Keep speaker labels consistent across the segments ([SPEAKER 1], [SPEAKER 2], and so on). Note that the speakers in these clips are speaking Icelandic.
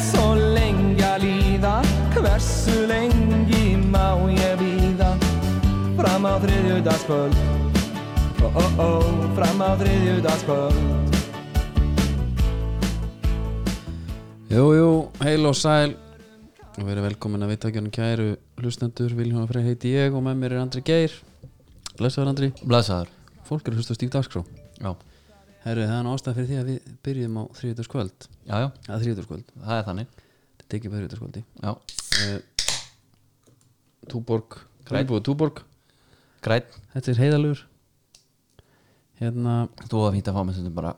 [SPEAKER 1] svo lengi að líða Hversu lengi má ég býða Fram á þriðjudagskvöld Ó, ó, ó, fram á þriðjudagskvöld
[SPEAKER 2] Jú, jú, heil og sæl og verið velkomin að viðtakjörnum kæru hlustendur, Viljóna Frey heiti ég og með mér er Andri Geir Lesaður Andri,
[SPEAKER 3] Blesaður
[SPEAKER 2] fólk er að hlusta á Stíf Dagskrá
[SPEAKER 3] já.
[SPEAKER 2] Herru, það er nú ástæð fyrir því að við byrjum á þriðjudagskvöld
[SPEAKER 3] já, já,
[SPEAKER 2] að þriðjudagskvöld,
[SPEAKER 3] það er þannig
[SPEAKER 2] þetta er ekki bara þriðjudagskvöldi
[SPEAKER 3] já.
[SPEAKER 2] uh, Túborg,
[SPEAKER 3] Grænn.
[SPEAKER 2] Grænbúið Túborg
[SPEAKER 3] Græn,
[SPEAKER 2] Þetta er heiðalur Hérna,
[SPEAKER 3] þú var fínt að fá með sem bara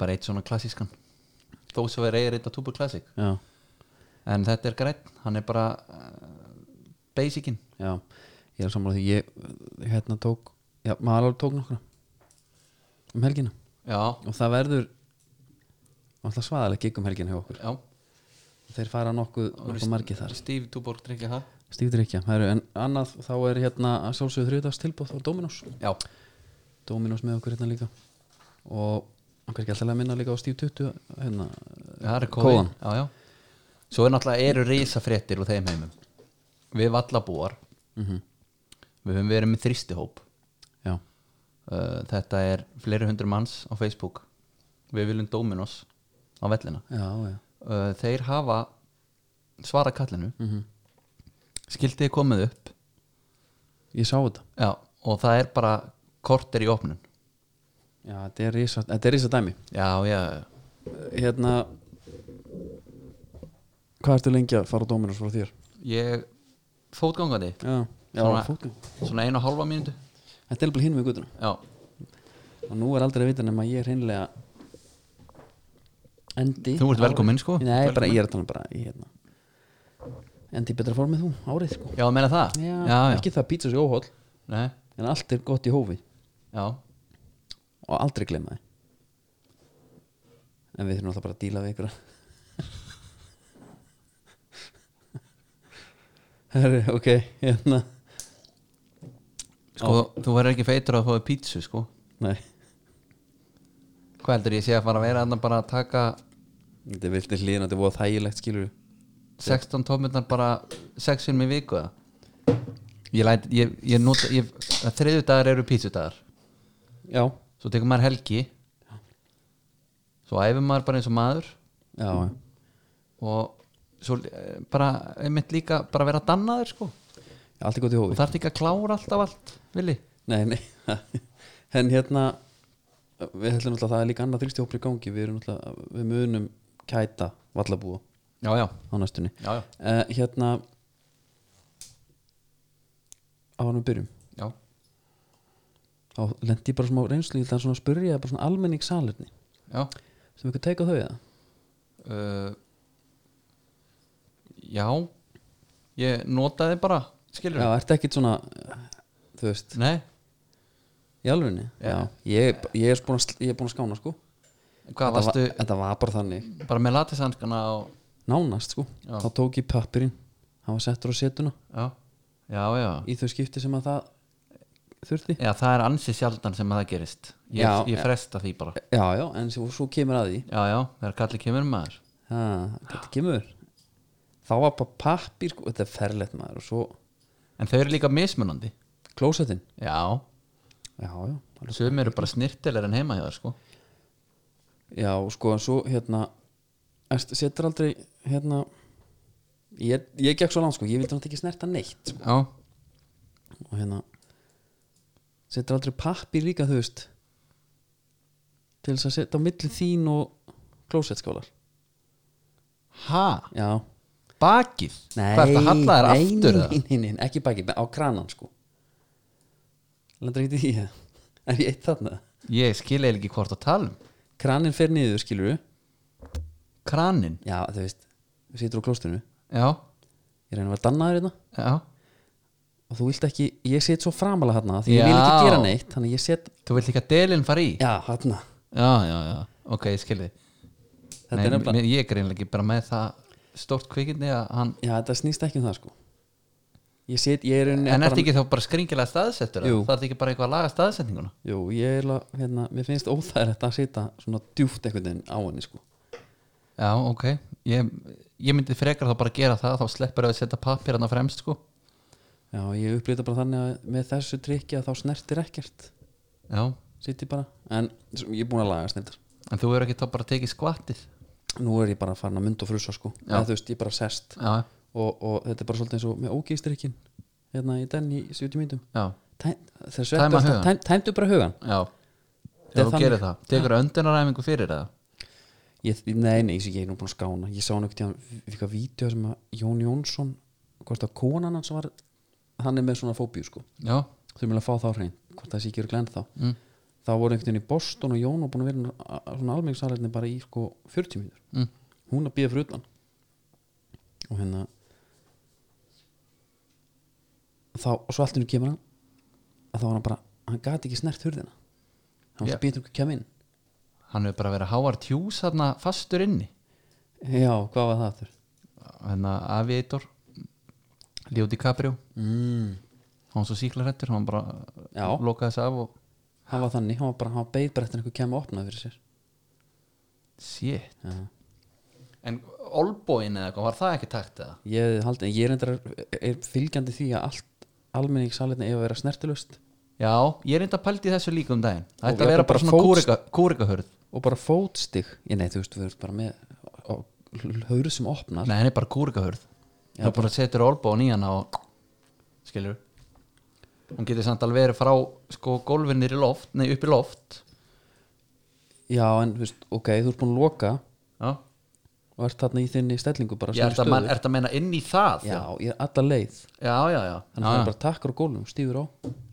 [SPEAKER 3] bara eitt svona klassískan þó svo er eigið reynda túbur klassík
[SPEAKER 2] já,
[SPEAKER 3] en þetta er græn, hann er bara uh, basicin
[SPEAKER 2] já Ég er sammála því, ég hérna tók, já, maður alveg tók nokkra um helgina
[SPEAKER 3] já,
[SPEAKER 2] og það verður alltaf svaðalega gig um helgin hjá okkur
[SPEAKER 3] já,
[SPEAKER 2] þeir fara nokkuð, nokkuð margið þar
[SPEAKER 3] Steve Túborg drikkið það
[SPEAKER 2] stífður ekki, Heru, en annað þá er hérna að sjálfsögðu þriðdags tilbúð þá er Dominos
[SPEAKER 3] já,
[SPEAKER 2] Dominos með okkur hérna líka og okkur ekki alltaf að minna líka á Steve 20 hérna,
[SPEAKER 3] það er
[SPEAKER 2] Kóðan.
[SPEAKER 3] kóðan já, já. svo er náttúrulega eru risafréttir úr þeim heimum við vallabúar
[SPEAKER 2] Mhm.
[SPEAKER 3] við höfum verið með þristihóp
[SPEAKER 2] já,
[SPEAKER 3] uh, þetta er fleiri hundru manns á Facebook við viljum Dominos á vellina
[SPEAKER 2] já, já,
[SPEAKER 3] uh, þeir hafa svara kallinu
[SPEAKER 2] mm
[SPEAKER 3] skildið komið upp
[SPEAKER 2] ég sá þetta
[SPEAKER 3] já, og það er bara korter í opnun
[SPEAKER 2] já, þetta er risa, þetta er risa dæmi
[SPEAKER 3] já, já,
[SPEAKER 2] hérna hvað ertu lengi að fara á Dominos frá þér?
[SPEAKER 3] ég fótgangandi
[SPEAKER 2] já, já,
[SPEAKER 3] Svona-
[SPEAKER 2] fólk
[SPEAKER 3] svona einu og halva mínútu
[SPEAKER 2] þetta er alveg hinn við gutuna
[SPEAKER 3] já,
[SPEAKER 2] og nú er aldrei að vita nema ég er hreinlega endi
[SPEAKER 3] Þú ert velkominn, sko.
[SPEAKER 2] Nei, bara, ég er að tala um bara í hérna endi í betra formið þú, árið sko
[SPEAKER 3] já, meina það
[SPEAKER 2] já,
[SPEAKER 3] já,
[SPEAKER 2] ekki það pítsa sér óhóll
[SPEAKER 3] Nei,
[SPEAKER 2] en allt er gott í hófi
[SPEAKER 3] já.
[SPEAKER 2] og aldrei glemma þið en við þurfum alltaf bara að díla við ykkur herri, ok hérna,
[SPEAKER 3] sko, þú verður ekki feitur að fóða pítsu sko.
[SPEAKER 2] nei
[SPEAKER 3] hvað heldur ég sé að fara að vera andan bara að taka
[SPEAKER 2] þetta er viltið hlýðin að þetta er voða þægilegt skilur
[SPEAKER 3] 16 tómurnar bara 6 sinum í viku eða? ég læt ég, ég nota, ég, þriðu dagar eru pítsudagar
[SPEAKER 2] já,
[SPEAKER 3] svo tekur maður helgi svo æfum maður bara eins og maður
[SPEAKER 2] já, já
[SPEAKER 3] og svo eh, bara einmitt líka bara vera dannaður sko og
[SPEAKER 2] allt er gott í hófi
[SPEAKER 3] þarf ekki að klára alltaf allt villi
[SPEAKER 2] Nei, nei En hérna Við ætlum alltaf að það er líka annað þrýstihópur í gangi Við erum alltaf, við munum kæta Vallabúa
[SPEAKER 3] já já,
[SPEAKER 2] á næstunni
[SPEAKER 3] já, já.
[SPEAKER 2] uh, Hérna Áðan við byrjum
[SPEAKER 3] já.
[SPEAKER 2] Þá lendi ég bara smá reynslu Þannig svona að spyrja bara svona almenning salerni
[SPEAKER 3] já.
[SPEAKER 2] Sem ykkur teika þau eða
[SPEAKER 3] Uh, já ég notaði bara skilur
[SPEAKER 2] Já, ertu ekkit svona Þú veist,
[SPEAKER 3] nei,
[SPEAKER 2] í alvegni Já, ég, ég, er búin að, sl- ég er búin að skána sko
[SPEAKER 3] hvað varstu
[SPEAKER 2] var, þetta var bara þannig
[SPEAKER 3] bara með latishanskana og
[SPEAKER 2] Nánast sko,
[SPEAKER 3] Já.
[SPEAKER 2] þá tók ég pappirinn Hann var settur á setuna
[SPEAKER 3] já, já, já.
[SPEAKER 2] í þau skipti sem að það þurfti
[SPEAKER 3] já það er ansi sjaldan sem að það gerist ég,
[SPEAKER 2] Já,
[SPEAKER 3] ég
[SPEAKER 2] já.
[SPEAKER 3] fresta því bara
[SPEAKER 2] já, já, en svo, svo kemur að því
[SPEAKER 3] já, já, þegar kalli kemur maður
[SPEAKER 2] ha, þetta kemur þá var bara pappir, sko, þetta er ferlegt maður og svo
[SPEAKER 3] en þau eru líka mismunandi
[SPEAKER 2] klósettin
[SPEAKER 3] já,
[SPEAKER 2] já, já, alveg.
[SPEAKER 3] sum eru bara snirtilegar en heima hjá þér sko
[SPEAKER 2] já, og sko, en svo hérna erst, setur aldrei hérna ég, ég gekk svo langt, sko, ég vildi náttúrulega ekki snerta neitt sko,
[SPEAKER 3] já,
[SPEAKER 2] og hérna setur aldrei pappir líka, þú veist til þess að setja á milli þín og klósettskálar
[SPEAKER 3] ha,
[SPEAKER 2] já,
[SPEAKER 3] bakið hvað er þetta halla þér
[SPEAKER 2] nei,
[SPEAKER 3] aftur
[SPEAKER 2] nei, nei, nei, ekki baki, á kranan sko Lendur ekki því það? Er ég eitt þarna?
[SPEAKER 3] það ég skil eða ekki hvort að tala um
[SPEAKER 2] Kranin fer niður, skilur við
[SPEAKER 3] kranin,
[SPEAKER 2] Já, þú veist, þú situr á klóstinu
[SPEAKER 3] já,
[SPEAKER 2] Ég reyna að vera dannaður hérna
[SPEAKER 3] já
[SPEAKER 2] Og þú vilt ekki, ég set svo framalega hérna Því ég
[SPEAKER 3] Já.
[SPEAKER 2] vil ekki gera neitt, þannig að ég set
[SPEAKER 3] þú vilt ekki að delin fara í
[SPEAKER 2] Já, hérna
[SPEAKER 3] já, já, já, ok, ég skil þið
[SPEAKER 2] Þetta
[SPEAKER 3] nei,
[SPEAKER 2] er nefnilega
[SPEAKER 3] mér- ég er greinlega ekki bara með það stórt kvikindi að hann
[SPEAKER 2] Já, þetta snýst ekki um það sko Ég set, ég er rauninni
[SPEAKER 3] en
[SPEAKER 2] bara-
[SPEAKER 3] ertu ekki þá bara skringilega staðsettur
[SPEAKER 2] Jú.
[SPEAKER 3] það er ekki bara eitthvað að laga staðsetninguna
[SPEAKER 2] Jú, ég er la, hérna, mér finnst óþægilegt að sita svona djúft einhvern veginn á henni sko
[SPEAKER 3] já, ok ég, ég myndi frekar þá bara gera það þá sleppur að setja pappir hann á fremst sko
[SPEAKER 2] Já, ég upplýta bara þannig að með þessu trikki að þá snertir ekkert
[SPEAKER 3] já,
[SPEAKER 2] Sittir bara, en s- ég er búin að laga snildar
[SPEAKER 3] en þú er ekki þá bara að tekið skvattið
[SPEAKER 2] Nú er ég bara farin að mynd og frusa sko
[SPEAKER 3] Já.
[SPEAKER 2] Eða, Þú veist, ég er bara sest
[SPEAKER 3] já,
[SPEAKER 2] og, og þetta er bara svolítið eins og með ógistrikkin Hérna í den í 70 myndum
[SPEAKER 3] já,
[SPEAKER 2] Þessu
[SPEAKER 3] Tæma hugann.
[SPEAKER 2] Tæmdu bara hugan
[SPEAKER 3] já
[SPEAKER 2] Það er
[SPEAKER 3] ef þú
[SPEAKER 2] þannig.
[SPEAKER 3] gerir það, tekur öndunaræfingu fyrir það
[SPEAKER 2] ég, Nei, nei, ég ég er nú búin að skána Ég sá hann eitthvað eitthvað vídeo sem að Jón Jónsson Hvort að konan hans var Hann er með svona fóbíu sko
[SPEAKER 3] já,
[SPEAKER 2] þau vilja fá þá hrein hvort það sé ekki eru glenn þá
[SPEAKER 3] Mm.
[SPEAKER 2] þá voru einhvern veginn í Boston og Jón og búin að vera a- a- svona almenningssalerni bara í sko 40 mínútur
[SPEAKER 3] Mm.
[SPEAKER 2] hún að býða fyrir utan og hérna þá og svo allt henni kemur hann að þá var hann bara, hann gati ekki snert hurðina hann
[SPEAKER 3] Já.
[SPEAKER 2] yeah. býður ekki að kemja inn
[SPEAKER 3] hann hefur bara verið háar tjús þarna fastur inni
[SPEAKER 2] já, hvað var það aftur?
[SPEAKER 3] hérna Aviator Leo DiCaprio
[SPEAKER 2] Mm.
[SPEAKER 3] hann var svo síklarættur, hann bara
[SPEAKER 2] Já.
[SPEAKER 3] lokaði þess af og
[SPEAKER 2] hann var þannig, hann var bara, hann beið bara eftir einhver kemja og opnaði fyrir sér
[SPEAKER 3] shit
[SPEAKER 2] já.
[SPEAKER 3] en Olbóin eða eitthvað, var það ekki takt eða?
[SPEAKER 2] ég, haldi, ég er, reyndar, er fylgjandi því að allt almenningssalerni ef að vera snertilust
[SPEAKER 3] já, ég er enda pældi þessu líka um daginn
[SPEAKER 2] Og
[SPEAKER 3] það ætti að
[SPEAKER 2] jafnvel
[SPEAKER 3] vera bara
[SPEAKER 2] bara
[SPEAKER 3] svona
[SPEAKER 2] fótst-
[SPEAKER 3] kúrika, kúrikahörð
[SPEAKER 2] og bara fótstig ég nei, þú veist, við erum bara með höfður sem opnar
[SPEAKER 3] nei, henni er bara kúrikahörð
[SPEAKER 2] Já,
[SPEAKER 3] það bara setur Olbóin í hana og skilur hún getur samt alveg verið frá sko gólfinir í loft, nei upp í loft
[SPEAKER 2] já, en þú veist, ok, þú ert búin að loka
[SPEAKER 3] já,
[SPEAKER 2] og ert þarna í þinni stellingu bara
[SPEAKER 3] ég
[SPEAKER 2] sem
[SPEAKER 3] ert að,
[SPEAKER 2] stöðu.
[SPEAKER 3] man, ert að meina inn í það
[SPEAKER 2] já, ég er alla leið
[SPEAKER 3] já, já, já,
[SPEAKER 2] þannig að það er bara takkar á gólum, stífur á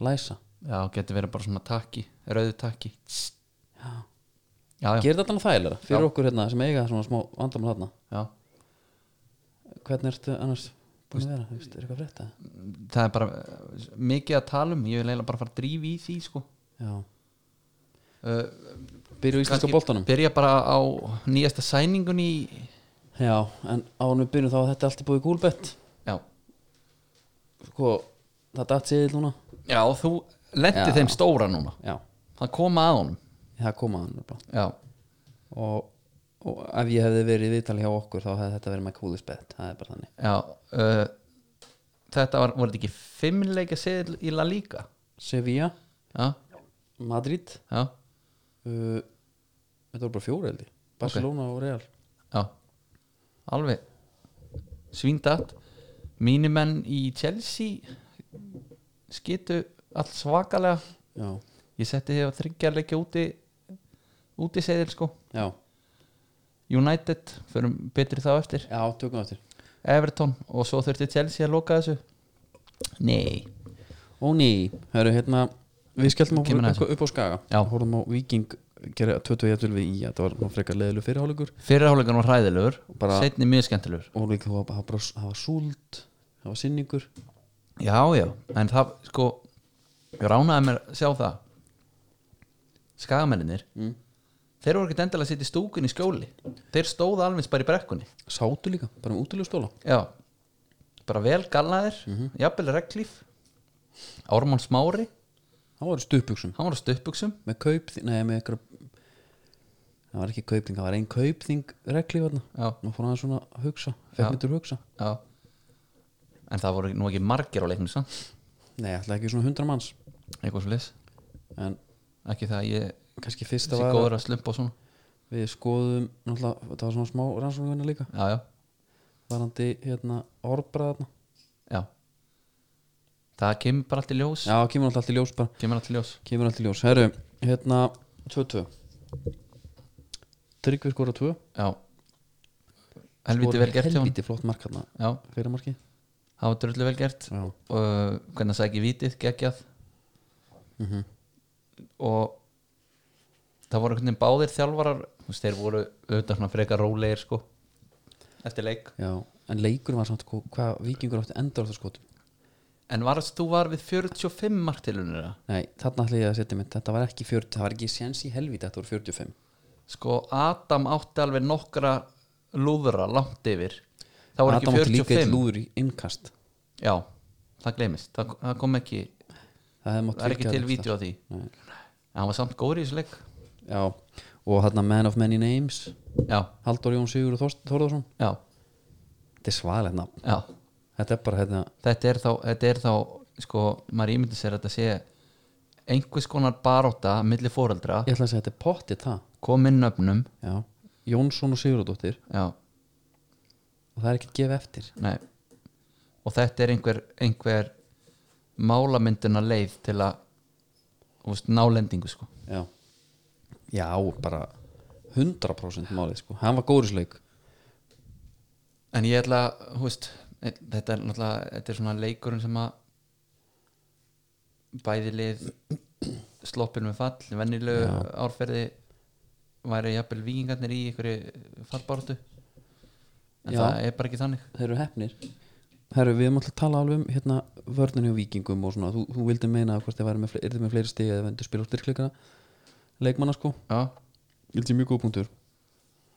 [SPEAKER 2] læsa,
[SPEAKER 3] já, getur verið bara svona takki rauðu takki
[SPEAKER 2] já,
[SPEAKER 3] já, já,
[SPEAKER 2] gerir þetta alveg þægilega fyrir okkur hérna sem eiga svona smá vandamál hérna
[SPEAKER 3] já
[SPEAKER 2] hvernig ertu annars búin að vera, þú veist, er eitthvað frétta
[SPEAKER 3] það er bara uh, mikið að tala um ég vil eiginlega bara fara að drífa í því sko.
[SPEAKER 2] já,
[SPEAKER 3] uh,
[SPEAKER 2] byrju á íslenska
[SPEAKER 3] kannski
[SPEAKER 2] boltanum
[SPEAKER 3] byrja bara á nýjasta sæningun í
[SPEAKER 2] já, en ánum við byrjum þá að þetta er allt í búið gúlbett
[SPEAKER 3] já,
[SPEAKER 2] sko, það datt séðil núna
[SPEAKER 3] já þú lendi
[SPEAKER 2] Já.
[SPEAKER 3] þeim stóra núna
[SPEAKER 2] já,
[SPEAKER 3] það koma að honum
[SPEAKER 2] það koma hann bara
[SPEAKER 3] já,
[SPEAKER 2] og, og ef ég hefði verið í viðtali hjá okkur þá hefði þetta verið my coolest bet það er bara þannig
[SPEAKER 3] já uh, þetta var, voru þetta ekki fimmleika seðil í La Liga
[SPEAKER 2] Sevilla,
[SPEAKER 3] já,
[SPEAKER 2] Madrid
[SPEAKER 3] já,
[SPEAKER 2] uh, þetta voru bara fjóra heldur Barcelona og Real
[SPEAKER 3] já alveg svíndat mínumenn í Chelsea skitu allt svakalega
[SPEAKER 2] já,
[SPEAKER 3] ég setti því að þryggja að leggja úti úti segðil sko
[SPEAKER 2] já,
[SPEAKER 3] United, förum betri þá eftir
[SPEAKER 2] já tökum við eftir
[SPEAKER 3] Everton og svo þurfti Chelsea að loka þessu Nei
[SPEAKER 2] og ný, hörru hérna við skelltum okkur
[SPEAKER 3] Kemur
[SPEAKER 2] upp,
[SPEAKER 3] að þessu.
[SPEAKER 2] upp, upp á skaga
[SPEAKER 3] Já.
[SPEAKER 2] hórum á Viking gera 21 við í þetta var nú frekar leðilu fyrirhálugur
[SPEAKER 3] Fyrirháleikan var hræðilegur,
[SPEAKER 2] Bara-
[SPEAKER 3] setni mjög skemmtilegur
[SPEAKER 2] og líka það var það var bara það var súld það var sinningur
[SPEAKER 3] Já, já, en það sko ég ránaði mér að sjá það Skagamennir
[SPEAKER 2] Mm.
[SPEAKER 3] þeir voru ekkert endilega að sitja í stúkunni í skjóli þeir stóðu alveg bara í brekkunni
[SPEAKER 2] sátu líka, bara um útilegstóla
[SPEAKER 3] Já, bara vel gallaðir
[SPEAKER 2] Mhm.
[SPEAKER 3] jafnvel reglíf Ármann Smári,
[SPEAKER 2] það var stupuksum
[SPEAKER 3] hann var á stöpbuksum
[SPEAKER 2] með kaupþing nei, með ykkur það var ekki kaupþing, það var einn kaupþing regli þarna,
[SPEAKER 3] Já,
[SPEAKER 2] maður fór aðeins svona að hugsa
[SPEAKER 3] Já.
[SPEAKER 2] fekk mér til að hugsa
[SPEAKER 3] já En það voru nú ekki margir á leiknum sann
[SPEAKER 2] nei, alltaf ekki svona hundra manns
[SPEAKER 3] Eitthvað svo leis
[SPEAKER 2] en
[SPEAKER 3] Ekki það að ég
[SPEAKER 2] kannski fyrsta
[SPEAKER 3] sé
[SPEAKER 2] var
[SPEAKER 3] góður að slumpa og svona
[SPEAKER 2] að við skoðum náttúrulega, það var svona smá rannsóknarvinna líka
[SPEAKER 3] Já, já,
[SPEAKER 2] varandi hérna orðbræða þarna
[SPEAKER 3] já Það kemur bara allt í ljós
[SPEAKER 2] já, kemur alltaf allt í ljós bara
[SPEAKER 3] Kemur allt í ljós
[SPEAKER 2] kemur alltaf í ljós, herru, hérna 2-2 Tryggvi skora 2
[SPEAKER 3] Já Helviti vel gert hjá hann
[SPEAKER 2] helviti flott mark hérna
[SPEAKER 3] Já,
[SPEAKER 2] fyrir marki
[SPEAKER 3] það var drullu vel gert
[SPEAKER 2] já,
[SPEAKER 3] og uh, hvernig það sæki vitið geggjað
[SPEAKER 2] Mhm.
[SPEAKER 3] og það voru einhvern veginn báðir þjálfarar þú veist, þeir voru auðvitað svona frekar rólegir sko eftir leik
[SPEAKER 2] já. en leikur var samt sko, hvað vikingur átti endur á það skotum
[SPEAKER 3] en varst þú var við 45 martilunir
[SPEAKER 2] Nei, þarna ætla ég að setja mitt Þetta var ekki 40, það var ekki séns í helvíti Þetta voru 45
[SPEAKER 3] sko Adam átti alveg nokkra lúðra langt yfir það voru
[SPEAKER 2] Adam átti
[SPEAKER 3] ekki
[SPEAKER 2] líka eitt
[SPEAKER 3] 45
[SPEAKER 2] lúður í innkast
[SPEAKER 3] já, það glemist, það, það kom ekki
[SPEAKER 2] Það, hefði mátt
[SPEAKER 3] það er ekki
[SPEAKER 2] tryggja
[SPEAKER 3] til
[SPEAKER 2] þetta
[SPEAKER 3] vídeo á því
[SPEAKER 2] Nei.
[SPEAKER 3] en hann var samt góður í þessu leik
[SPEAKER 2] já, og þarna Man of Many Names
[SPEAKER 3] já,
[SPEAKER 2] Halldór Jón Sigur Þórðarsson
[SPEAKER 3] já,
[SPEAKER 2] þetta er svaðilegt nafn
[SPEAKER 3] já
[SPEAKER 2] þetta er bara hérna,
[SPEAKER 3] þetta er þá, þetta er þá sko, maður ímyndi sér að þetta sé einhvers konar baróta milli fóreldra,
[SPEAKER 2] ég ætla að segja þetta er pottið það
[SPEAKER 3] komin nöfnum
[SPEAKER 2] já. Jónsson og Sigurðardóttir
[SPEAKER 3] já,
[SPEAKER 2] og það er ekkert gefið eftir
[SPEAKER 3] nei og þetta er einhver, einhver málamynduna leið til að þú veist, nálendingu sko
[SPEAKER 2] já, já bara 100% málið sko hann var górisleik
[SPEAKER 3] en ég ætla, að, þú veist eh, þetta er náttúrulega, þetta er svona leikurinn sem að bæði lið sloppin með fall, vennilegu árferði væri jafnvel vikingarnir í einhverju fallbáratu en
[SPEAKER 2] Já.
[SPEAKER 3] það er bara ekki þannig
[SPEAKER 2] þeir eru hefnir Herru, við erum alltaf að tala alveg um hérna vörninu og vikingum og svona, þú, þú vildi meina hvort þið væri með, fle- yrðu með fleiri stig eða vendur spila úr styrkleikana leikmanna sko,
[SPEAKER 3] já,
[SPEAKER 2] ég held ég mjög góð punktur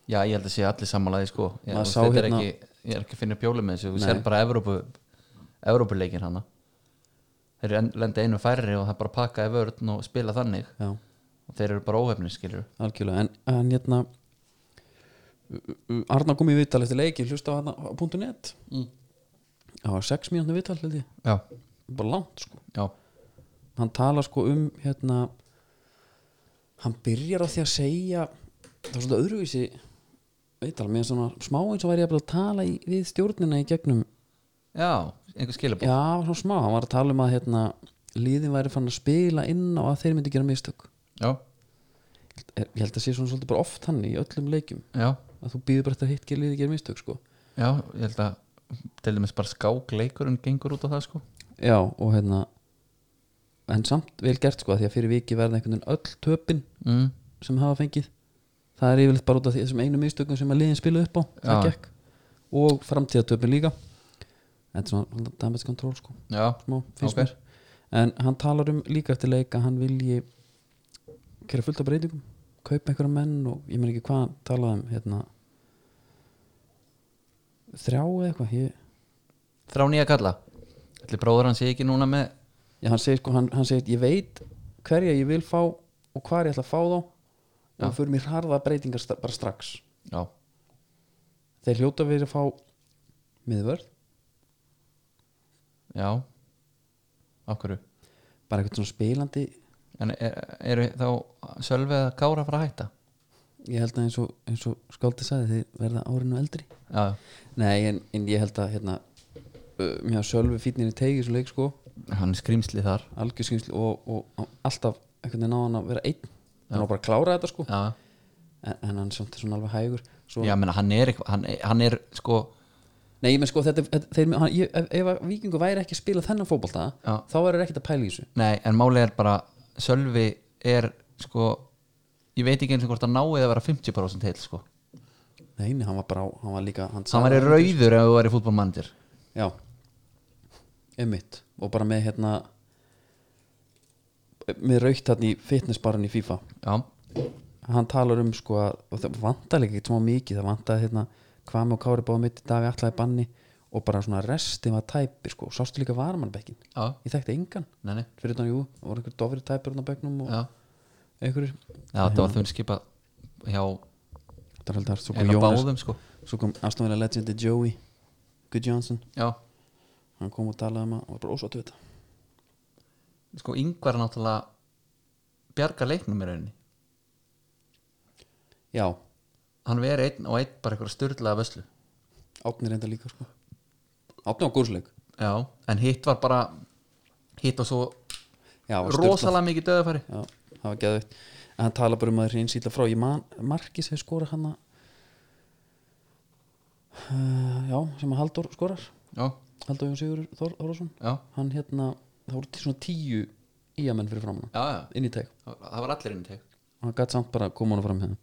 [SPEAKER 3] já ég held að sé allir sammálaði sko ég,
[SPEAKER 2] Maður
[SPEAKER 3] þú veist,
[SPEAKER 2] sá
[SPEAKER 3] þetta er
[SPEAKER 2] hérna-
[SPEAKER 3] ekki, ég er ekki að finna bjóli með þessu, þú
[SPEAKER 2] Nei.
[SPEAKER 3] sér bara Evrópu Evrópuleikin hana þeir eru en- lenda einu færri og það er bara að pakka í vörn og spila þannig
[SPEAKER 2] já,
[SPEAKER 3] og þeir eru bara óhefnir skilur
[SPEAKER 2] algjörlega, en, en hérna Arna kom í viðtal eftir leiki, hlusta á hérna á .net
[SPEAKER 3] Mm.
[SPEAKER 2] það var 6 mínútna viðtal held ég,
[SPEAKER 3] já,
[SPEAKER 2] bara langt sko
[SPEAKER 3] já
[SPEAKER 2] hann tala sko um hérna hann byrjar á því að segja það er svona öðruvísi veital, mér er svona smá eins og væri jafnvel að tala í, við stjórnina í gegnum
[SPEAKER 3] Já, einhver skilabók
[SPEAKER 2] já, svona smá, hann var að tala um að hérna liðin væri fann að spila inn á að þeir myndi gera mistök
[SPEAKER 3] Já,
[SPEAKER 2] Er- ég held að sé svona svolítið bara oft hann í öllum leikjum
[SPEAKER 3] já,
[SPEAKER 2] að þú býður bara eftir að hitt gera liði gera mistök sko
[SPEAKER 3] já, ég held að til dæmis bara skákleikurinn gengur út á það sko
[SPEAKER 2] já, og hérna en samt vel gert sko, af því að fyrir viki verða einhvern veginn öll töpin
[SPEAKER 3] mm.
[SPEAKER 2] sem hafa fengið það er yfirleitt bara út af því- þessum einu mistökum sem að liðin spila upp á það
[SPEAKER 3] Já.
[SPEAKER 2] gekk og framtíðatöpun líka þetta er svona damage control sko
[SPEAKER 3] Já,
[SPEAKER 2] smá, finnst
[SPEAKER 3] Ok.
[SPEAKER 2] mér en hann talar um líka eftir leik að hann vilji gera fullt af breytingum kaupa einhverja menn og ég meina ekki hvað hann talaði um hérna þrjá eða eitthvað ég,
[SPEAKER 3] þrá nýja kalla Ætli bróður hann sé ekki núna með
[SPEAKER 2] já, hann segir sko, hann, hann segir ég veit hverja ég vil fá og hvar ég ætla að fá þá og
[SPEAKER 3] Já.
[SPEAKER 2] hann fyrir mér harða breytingar stra- bara strax
[SPEAKER 3] Já,
[SPEAKER 2] þeir hljóta að vera að fá miðvörð,
[SPEAKER 3] já Af hverju
[SPEAKER 2] bara eitthvað svona spilandi
[SPEAKER 3] En er, eru þá Sölvi að kára að fara að hætta?
[SPEAKER 2] ég held að eins og, eins og skáldi sagði þeir verða árinu eldri
[SPEAKER 3] Já,
[SPEAKER 2] nei, en, en ég held að hérna uh, mér að sölvi fýtninni tegi svo leik sko,
[SPEAKER 3] hann er skrýmsli þar
[SPEAKER 2] algjörskinsli og, og, og alltaf einhvern veginn á hann að vera einn hann á bara að klára þetta sko
[SPEAKER 3] Já,
[SPEAKER 2] en, en hann samt er svona alveg hægur svo,
[SPEAKER 3] já menna hann er, eitthvað- hann, er- hann er sko
[SPEAKER 2] nei, ég menn sko, þetta, þetta þeir, hann, ég, ef, ef að vikingu væri ekki að spila þennan fótbolta
[SPEAKER 3] Já.
[SPEAKER 2] þá verður ekkert að pæla í þessu
[SPEAKER 3] Nei, en máli er bara Sölvi er sko Ég veit ekki eins og hvort hann náið að vera 50% heil sko
[SPEAKER 2] nei, nei, hann var bara, á- hann var líka hann,
[SPEAKER 3] Hann
[SPEAKER 2] sagði-
[SPEAKER 3] væri rauður ef þú væri fútbolmandir
[SPEAKER 2] Já Emmitt Og bara með hérna Með raukt hann í fitnessbarun í FIFA
[SPEAKER 3] Já,
[SPEAKER 2] Hann talar um sko að og Það vantar líka ekkert smá mikið Það vantar hérna Hvað með og Kári báða mitt í dag Allaði banni Og bara svona restin var tæpir sko Sástu líka varmannbekkin
[SPEAKER 3] já,
[SPEAKER 2] Ég þekkti engan
[SPEAKER 3] nei, nei
[SPEAKER 2] Fyrir þannig jú Það voru einhver dofri tæpir hann á bekknum Og
[SPEAKER 3] Já,
[SPEAKER 2] einhverjir
[SPEAKER 3] já það var þeim skipað hjá
[SPEAKER 2] Það er alltaf svo kom
[SPEAKER 3] einu
[SPEAKER 2] Jónas
[SPEAKER 3] báðum sko
[SPEAKER 2] Svo kom aðstofnilega legendi Joey Good Johnson
[SPEAKER 3] Já,
[SPEAKER 2] Hann kom og talaði um að Og var bara ósáttu þetta
[SPEAKER 3] sko yngvar náttúrulega bjarga leiknum í rauninni
[SPEAKER 2] Já
[SPEAKER 3] Hann veri einn og einn bara eitthvað styrlaða vöslu
[SPEAKER 2] Átni reynda líka sko Átni á góðsleik
[SPEAKER 3] Já, en hitt var bara hitt og svo
[SPEAKER 2] Já, var sturlað.
[SPEAKER 3] rosalega mikið döðafæri
[SPEAKER 2] Já, það var geðveikt en hann tala bara um að reynsýla frá ég man, Markis hefur skorað hann uh, já, sem að Halldór skorar
[SPEAKER 3] Já,
[SPEAKER 2] Halldór Jón Sigur Þór, Þórðarsson
[SPEAKER 3] já,
[SPEAKER 2] hann hérna, það voru til svona tíu íamenn fyrir fram hann,
[SPEAKER 3] já, já
[SPEAKER 2] inn í teg
[SPEAKER 3] Það var allir inn í teg
[SPEAKER 2] og hann gætt samt bara að koma hann fram hérna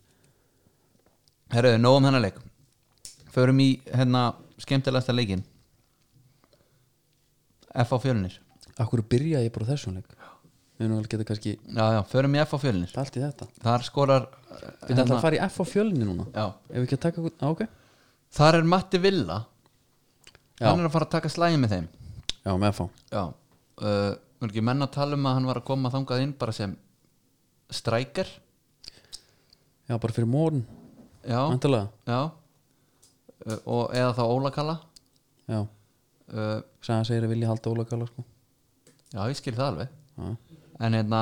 [SPEAKER 3] Herruðu, nóg um hennar leik Förum í hérna skemmtilegasta leikin F á fjölunir
[SPEAKER 2] af hverju byrja ég bara á þessum leik við erum vel geta kannski
[SPEAKER 3] Já, já, förum í F á fjölunir
[SPEAKER 2] dalt í þetta
[SPEAKER 3] Þar skorar eh,
[SPEAKER 2] við
[SPEAKER 3] Hérna-
[SPEAKER 2] ætlum að fara í F á fjölinni núna
[SPEAKER 3] Já,
[SPEAKER 2] ef við ekki að taka okkur, á ok
[SPEAKER 3] Þar er Matti Villa
[SPEAKER 2] Já.
[SPEAKER 3] Hann er að fara að taka slæði með þeim
[SPEAKER 2] já, með F á,
[SPEAKER 3] Já eh, uh, Mér ekki menna að tala um að hann var að koma þangað inn bara sem strækjar
[SPEAKER 2] já, bara fyrir morgun,
[SPEAKER 3] já,
[SPEAKER 2] vantilega
[SPEAKER 3] já uh, og eða þá ólakalla
[SPEAKER 2] já,
[SPEAKER 3] uh,
[SPEAKER 2] sæðan segir að vilja halda ólagala sko.
[SPEAKER 3] já, ég skil það alveg
[SPEAKER 2] Já.
[SPEAKER 3] en hérna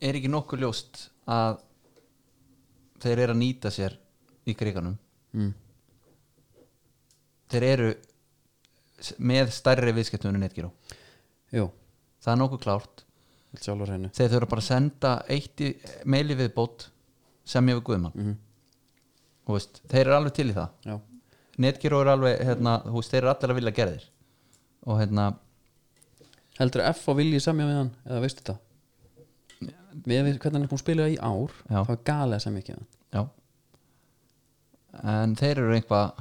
[SPEAKER 3] er ekki nokkuð ljóst að þeir eru að nýta sér í kriganum
[SPEAKER 2] mm.
[SPEAKER 3] þeir eru s- með stærri viðskiptunum netgíró
[SPEAKER 2] jú,
[SPEAKER 3] það er nokkuð klárt
[SPEAKER 2] þetta sjálfur henni
[SPEAKER 3] þeir þurfa bara að senda eitt í, meili viðbót sem ég við Guðmann
[SPEAKER 2] Mhm.
[SPEAKER 3] Þú veist, þeir eru alveg til í það
[SPEAKER 2] já,
[SPEAKER 3] netgíró eru alveg, hérna, þú veist, þeir eru allir að vilja gerðir og hérna
[SPEAKER 2] heldur F og vilji semja við hann eða veistu þetta með við, hvernig hann er búin að spila í ár
[SPEAKER 3] Já.
[SPEAKER 2] það var galið sem ekki hann
[SPEAKER 3] Já En þeir eru einhvað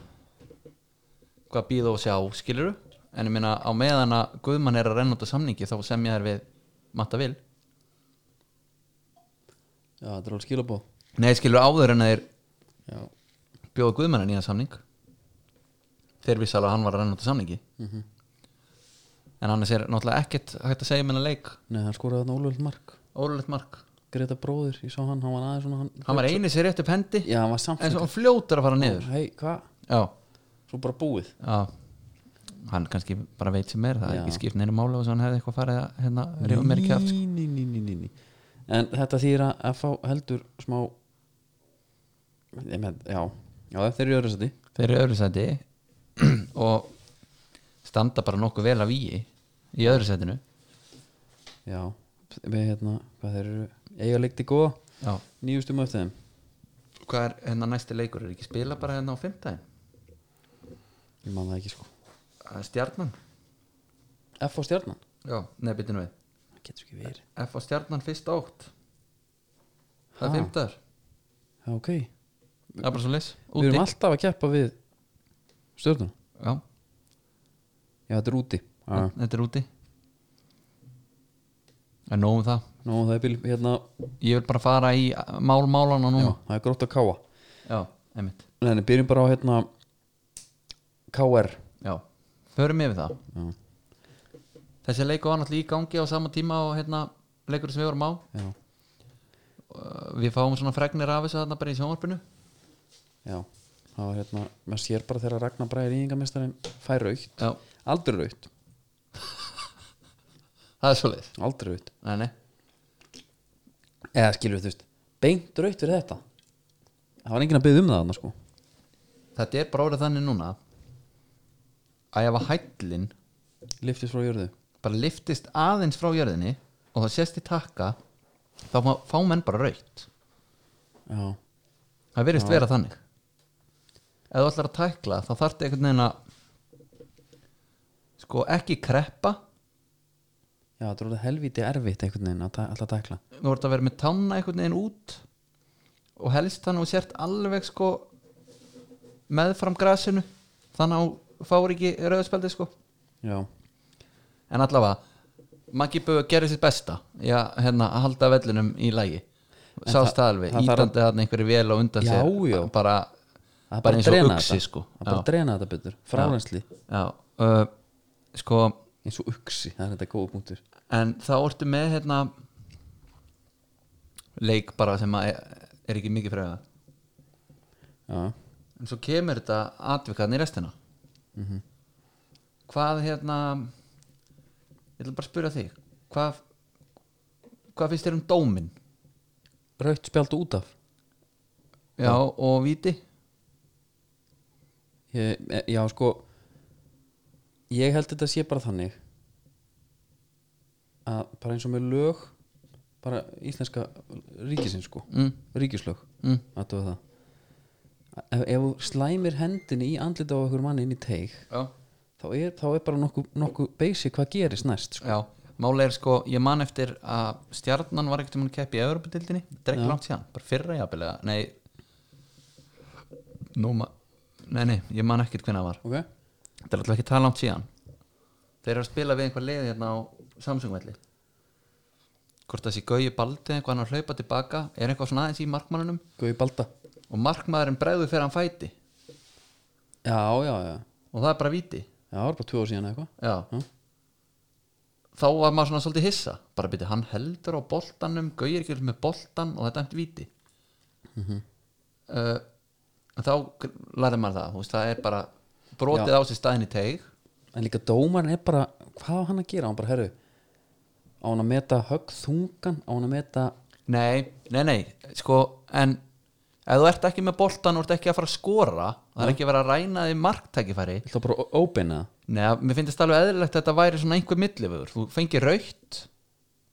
[SPEAKER 3] hvað býða og sjá skiluru en ég meina á meðan að Guðmann er að renna út á samningi þá sem ég er við Matta Vil
[SPEAKER 2] já, þetta er alveg skilabóð
[SPEAKER 3] Nei skilur áður en að þeir
[SPEAKER 2] já,
[SPEAKER 3] bjóða Guðmann að nýja samning þeir vissi alveg að hann var að renna út á samningi en annars er náttúrulega ekkert hægt að segja meina leik
[SPEAKER 2] neða, hann skoraði þarna ólöld mark
[SPEAKER 3] ólulegt mark
[SPEAKER 2] Greta bróðir, ég sá hann, hann var aðeins svona hann,
[SPEAKER 3] hann var eini sér rétt upp hendi
[SPEAKER 2] já, hann var samt
[SPEAKER 3] en svo hann fljótar að fara niður
[SPEAKER 2] hei, hvað,
[SPEAKER 3] Já,
[SPEAKER 2] svo bara búið
[SPEAKER 3] já hann kannski bara veit sem er það er
[SPEAKER 2] Já.
[SPEAKER 3] ekki skipt neina mála og svo hann hefði eitthvað farið að hérna rífa mér kjátt
[SPEAKER 2] ný, ný, ný, ný, ný, ný. en þetta þýr að F heldur smá ég með, já, já, þeir eru í öðru sæti
[SPEAKER 3] þeir eru í öðru sæti og standa bara nokkuð vel af í í öðru sætinu
[SPEAKER 2] já, við hérna, hvað þeir eru eiga leikti góða,
[SPEAKER 3] já.
[SPEAKER 2] nýjustum eftir þeim
[SPEAKER 3] hvað er hérna næsti leikur, er ekki spila bara hérna á fimmtæðin
[SPEAKER 2] ég man það ekki sko,
[SPEAKER 3] stjarnan
[SPEAKER 2] F á stjarnan
[SPEAKER 3] já, neða byttin við
[SPEAKER 2] það getur ekki verið,
[SPEAKER 3] F á stjarnan fyrst átt það
[SPEAKER 2] Ha?
[SPEAKER 3] er fimmtæður,
[SPEAKER 2] já, ok við
[SPEAKER 3] Ah. það er bara svo leys
[SPEAKER 2] erum alltaf að keppa við stjarnan,
[SPEAKER 3] já,
[SPEAKER 2] já, þetta er úti já,
[SPEAKER 3] þetta er úti en nóg um það
[SPEAKER 2] nú, það er bíl, hérna
[SPEAKER 3] ég vil bara fara í mál málana
[SPEAKER 2] já,
[SPEAKER 3] núna
[SPEAKER 2] það er grótt að káa
[SPEAKER 3] já einmitt
[SPEAKER 2] Nei, nei, byrjum bara á hérna KR
[SPEAKER 3] Já, förum yfir það
[SPEAKER 2] Já.
[SPEAKER 3] Þessi leikur var náttúrulega í gangi á sama tíma og hérna leikur sem við vorum á
[SPEAKER 2] Já,
[SPEAKER 3] Uh, Við fáum svona fregnir af þessu þarna bara í sjónvarpinu
[SPEAKER 2] já Það var hérna, maður sér bara þegar Ragnar Bræði Íðingamestarinn fær raukt
[SPEAKER 3] Já,
[SPEAKER 2] Aldrei raukt,
[SPEAKER 3] það er svoleiðis
[SPEAKER 2] aldrei raukt
[SPEAKER 3] Nei, nei,
[SPEAKER 2] Eða skilur við þú veist, beint raukt fyrir þetta Það var enginn að byggja um það þarna sko
[SPEAKER 3] þetta er bara orðið þannig núna að ef að hællin
[SPEAKER 2] Liftist frá jörðu
[SPEAKER 3] bara liftist aðeins frá jörðinni og það sést í takka þá fá- fá menn bara raukt
[SPEAKER 2] Já,
[SPEAKER 3] Það verðist vera þannig Ef þú ætlar að tækla þá þarf þetta einhvern veginn að sko ekki kreppa
[SPEAKER 2] já þetta er orðið helviti erfitt einhvern veginn að ta- alltaf tækla
[SPEAKER 3] þú voru að vera með tanna einhvern veginn út og helst þannig og sért alveg sko meðfram grasinu þannig að þú fáir ekki rauðspeldi sko
[SPEAKER 2] Já,
[SPEAKER 3] en allavega, Maggi Böð gerir sitt besta í að hérna, að halda vellunum í lægi
[SPEAKER 2] En
[SPEAKER 3] sást það
[SPEAKER 2] það-
[SPEAKER 3] alveg,
[SPEAKER 2] það þarf að-
[SPEAKER 3] ítandi þarna einhverju vel og undan
[SPEAKER 2] Já,
[SPEAKER 3] sér
[SPEAKER 2] já.
[SPEAKER 3] bara,
[SPEAKER 2] það er
[SPEAKER 3] bara
[SPEAKER 2] bara
[SPEAKER 3] eins
[SPEAKER 2] að
[SPEAKER 3] og
[SPEAKER 2] drena
[SPEAKER 3] uksi
[SPEAKER 2] þetta
[SPEAKER 3] sko
[SPEAKER 2] Það er bara að
[SPEAKER 3] já,
[SPEAKER 2] drena þetta betur, frárensli
[SPEAKER 3] já, uh, sko
[SPEAKER 2] Eins og uksi, það er þetta góða punktur
[SPEAKER 3] en þá ertu með hérna leik bara sem að er, er ekki mikið fræða
[SPEAKER 2] Já,
[SPEAKER 3] en svo kemur þetta atvikarn í restina
[SPEAKER 2] Mhm.
[SPEAKER 3] hvað hérna ég ætla bara að spyrja þig hvað, hvað finnst þér um dómin
[SPEAKER 2] raukt spjald út af
[SPEAKER 3] já, og viti
[SPEAKER 2] ég, e- já sko ég held þetta sé bara þannig að bara eins og með lög bara íslenska ríkisins sko
[SPEAKER 3] mm,
[SPEAKER 2] ríkislög,
[SPEAKER 3] mm,
[SPEAKER 2] aðtöfa það ef, ef þú slæmir hendinni í andlita á okkur manni inn í teig
[SPEAKER 3] já,
[SPEAKER 2] þá er, þá er bara nokkuð nokku basic hvað gerist næst sko.
[SPEAKER 3] já máli er sko, ég man eftir að stjarnan var ekkert um að keppi í Evropadildinni, þetta er ekki
[SPEAKER 2] Já.
[SPEAKER 3] langt síðan bara fyrra jafnilega, nei nú ma nei, nei, ég man ekkert hvernig það var
[SPEAKER 2] ok,
[SPEAKER 3] þetta er alltaf ekki það langt síðan þeir eru að spila við einhver lið hérna á Samsung-velli hvort það sé Gauji Baldi eitthvað hann að hlaupa tilbaka er eitthvað svona aðeins í markmannunum
[SPEAKER 2] guði balda
[SPEAKER 3] og markmaðurinn bregður fyrir hann fæti
[SPEAKER 2] já, já, já,
[SPEAKER 3] og það er bara viti
[SPEAKER 2] já, það var bara tvö ár síðan eða eitthvað
[SPEAKER 3] já.
[SPEAKER 2] Mm.
[SPEAKER 3] þá var maður svona svolítið hissa bara byrja, hann heldur á boltanum gauðir ekki með boltan og þetta emt víti mm þá lærði maður það þú veist, það er bara brotið
[SPEAKER 2] Já.
[SPEAKER 3] á sér staðin í teig
[SPEAKER 2] en líka dómarinn er bara hvað á hann að gera, hann bara herru á hann að meta högg þungan á hann að meta,
[SPEAKER 3] nei, nei, nei, sko en ef þú ert ekki með boltan og ert ekki að fara að skora það er ekki að vera að ræna því marktækifæri
[SPEAKER 2] viltu bara ó- óbeina það?
[SPEAKER 3] Nei, að- mér finnst alveg eðlilegt að þetta væri svona einhver milliföður, þú fengi raukt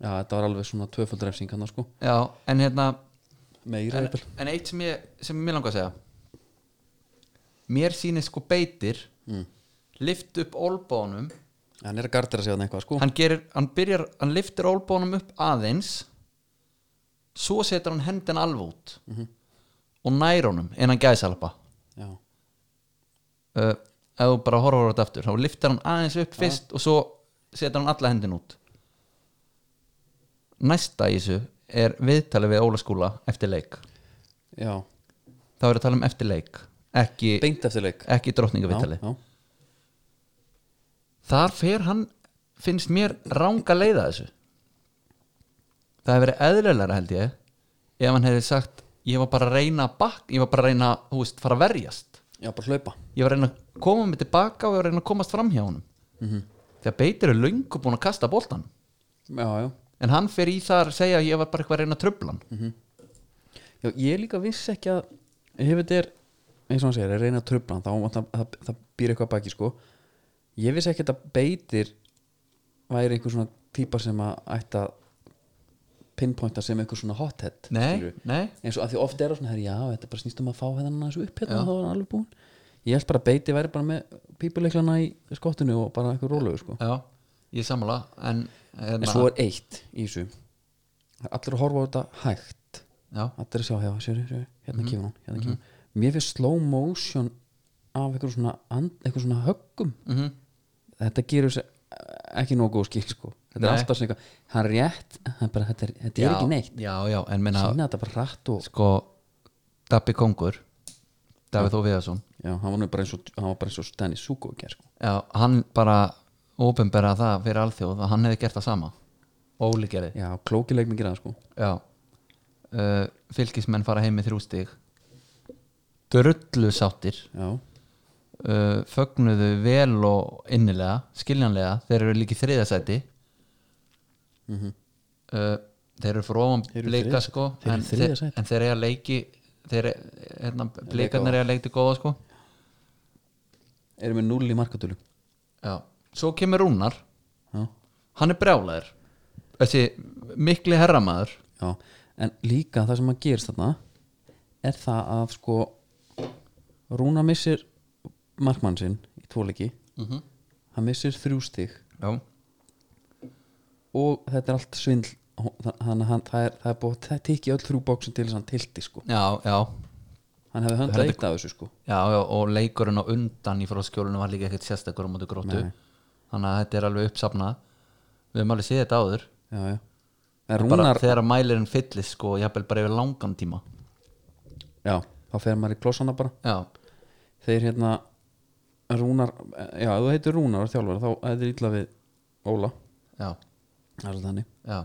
[SPEAKER 2] já, þetta var alveg svona tvöföld refsing hann sko,
[SPEAKER 3] já, en hérna
[SPEAKER 2] meira
[SPEAKER 3] en,
[SPEAKER 2] eppil
[SPEAKER 3] en eitt sem ég, sem ég langar að segja mér sýnir sko beitir mm. lift upp olbónum
[SPEAKER 2] hann er að gardera sig að eitthvað sko
[SPEAKER 3] hann gerir, hann byrjar, hann liftir olbónum upp aðeins svo setur hann hendin alveg út og nær honum innan gæðsalpa
[SPEAKER 2] já,
[SPEAKER 3] uh, ef þú bara horfur á þetta aftur þá liftir hann aðeins upp fyrst og svo setur hann alla hendin út næsta í þessu er viðtalið við Óla skúla eftir leik
[SPEAKER 2] já,
[SPEAKER 3] þá er að tala um eftir leik ekki,
[SPEAKER 2] beint eftir leik
[SPEAKER 3] ekki drottningaviðtali
[SPEAKER 2] já, já.
[SPEAKER 3] þar fer hann finnst mér ranga leiða þessu það hefur verið eðlilegra held ég ef hann hefði sagt ég var bara að reyna að bakk ég var bara að reyna að veist, fara að verjast
[SPEAKER 2] já, bara hlaupa
[SPEAKER 3] ég var að reyna að koma mig tilbaka og ég var að reyna að komast fram hjá honum
[SPEAKER 2] Mhm.
[SPEAKER 3] þegar beitir er löngu búin að kasta boltan
[SPEAKER 2] já, já,
[SPEAKER 3] en hann fer í þar að segja að ég var bara eitthvað að reyna að tröfla hann
[SPEAKER 2] Mhm, já, ég líka vissi ekki að ef þetta er, eins og hann segir, er reyna að trubla hann, þá það, það, það býr eitthvað að baki sko ég vissi ekki að þetta beitir væri einhver svona típa sem að ætti að pinpointa sem einhver svona hothead
[SPEAKER 3] nei,
[SPEAKER 2] skilurðu.
[SPEAKER 3] nei,
[SPEAKER 2] eins og að því oft er það svona, herri, já, þetta er bara snýst um að fá hennan þessu upp hérna
[SPEAKER 3] Já.
[SPEAKER 2] og þá er hann alveg búinn ég held bara að beiti væri bara með pípuleiklana í skottinu og bara eitthvað rólegu sko
[SPEAKER 3] já, ég er sammála en, hérna,
[SPEAKER 2] en svo er eitt í þessu Það er allir að horfa á þetta hægt
[SPEAKER 3] já,
[SPEAKER 2] allir að sjá, já, sjöri, sjöri,
[SPEAKER 3] Mhm.
[SPEAKER 2] hérna kemur hún hérna kemur hún, mér finnst slow motion af einhver svona, and, einhver svona höggum
[SPEAKER 3] mm
[SPEAKER 2] þetta gerur sér ekki nógu góð skil sko þetta er
[SPEAKER 3] Nei.
[SPEAKER 2] alltaf svona eitthvað, hann rétt hann bara, þetta er, þetta er
[SPEAKER 3] já,
[SPEAKER 2] ekki neitt
[SPEAKER 3] já, já, en minna
[SPEAKER 2] sína þetta bara rætt og
[SPEAKER 3] sko Dabbi Kongur Davíð Þó Viðarsson
[SPEAKER 2] já, hann var nú bara eins og, hann var bara eins og Stanley Suko ger sko,
[SPEAKER 3] já, hann bara ópenbera það fyrir alþjóð að hann hefði gert það sama Óli gerði
[SPEAKER 2] já, klókileik mig gera það sko
[SPEAKER 3] já. Uh, fylgismenn fara heim með þrjú stig drullu sáttir
[SPEAKER 2] já,
[SPEAKER 3] uh, fögnuðu vel og innilega skiljanlega, þeir eru líka í þriðasæti uh, þeir eru frá ofan
[SPEAKER 2] Mhm. Þeir eru í
[SPEAKER 3] blika
[SPEAKER 2] þriðja sæti.
[SPEAKER 3] sko
[SPEAKER 2] Þeir eru í
[SPEAKER 3] en,
[SPEAKER 2] þriðja sæti.
[SPEAKER 3] en þeir eru að leiki þeir, hérna, blikarnir
[SPEAKER 2] á.
[SPEAKER 3] eru að leiki góða sko
[SPEAKER 2] erum við null í markatölu
[SPEAKER 3] já. svo kemur Rúnar
[SPEAKER 2] já,
[SPEAKER 3] hann er brjálæður þessi mikli herramaður
[SPEAKER 2] já, en líka það sem að gerist þarna er það að sko Rúna missir markmann sinn í tvoleiki
[SPEAKER 3] Mhm.
[SPEAKER 2] hann missir þrjú stig
[SPEAKER 3] já.
[SPEAKER 2] og þetta er allt svindl Hó- þa- þannig að hann, það er, það er búið það tikið öll þrjú bóksin til þess að hann tilti sko
[SPEAKER 3] já, já,
[SPEAKER 2] hann hefði höndað eitt af þessu sko
[SPEAKER 3] já, já og leikurinn á undan í fróðskjólinu var líka ekkert sérstakur á móti gróttu
[SPEAKER 2] Nei.
[SPEAKER 3] þannig að þetta er alveg uppsafnað við höfum alveg séð þetta áður
[SPEAKER 2] já, já. en
[SPEAKER 3] bara
[SPEAKER 2] Rúnar,
[SPEAKER 3] þegar að mælirinn fyllist sko, jafnvel bara yfir langan tíma
[SPEAKER 2] já, þá fer maður í klossana bara
[SPEAKER 3] já,
[SPEAKER 2] þeir hérna Rúnar, já, ef þú heitir Rúnar og þjálfur þá er þetta illa við Óla
[SPEAKER 3] já,
[SPEAKER 2] það er svolítið þannig,
[SPEAKER 3] já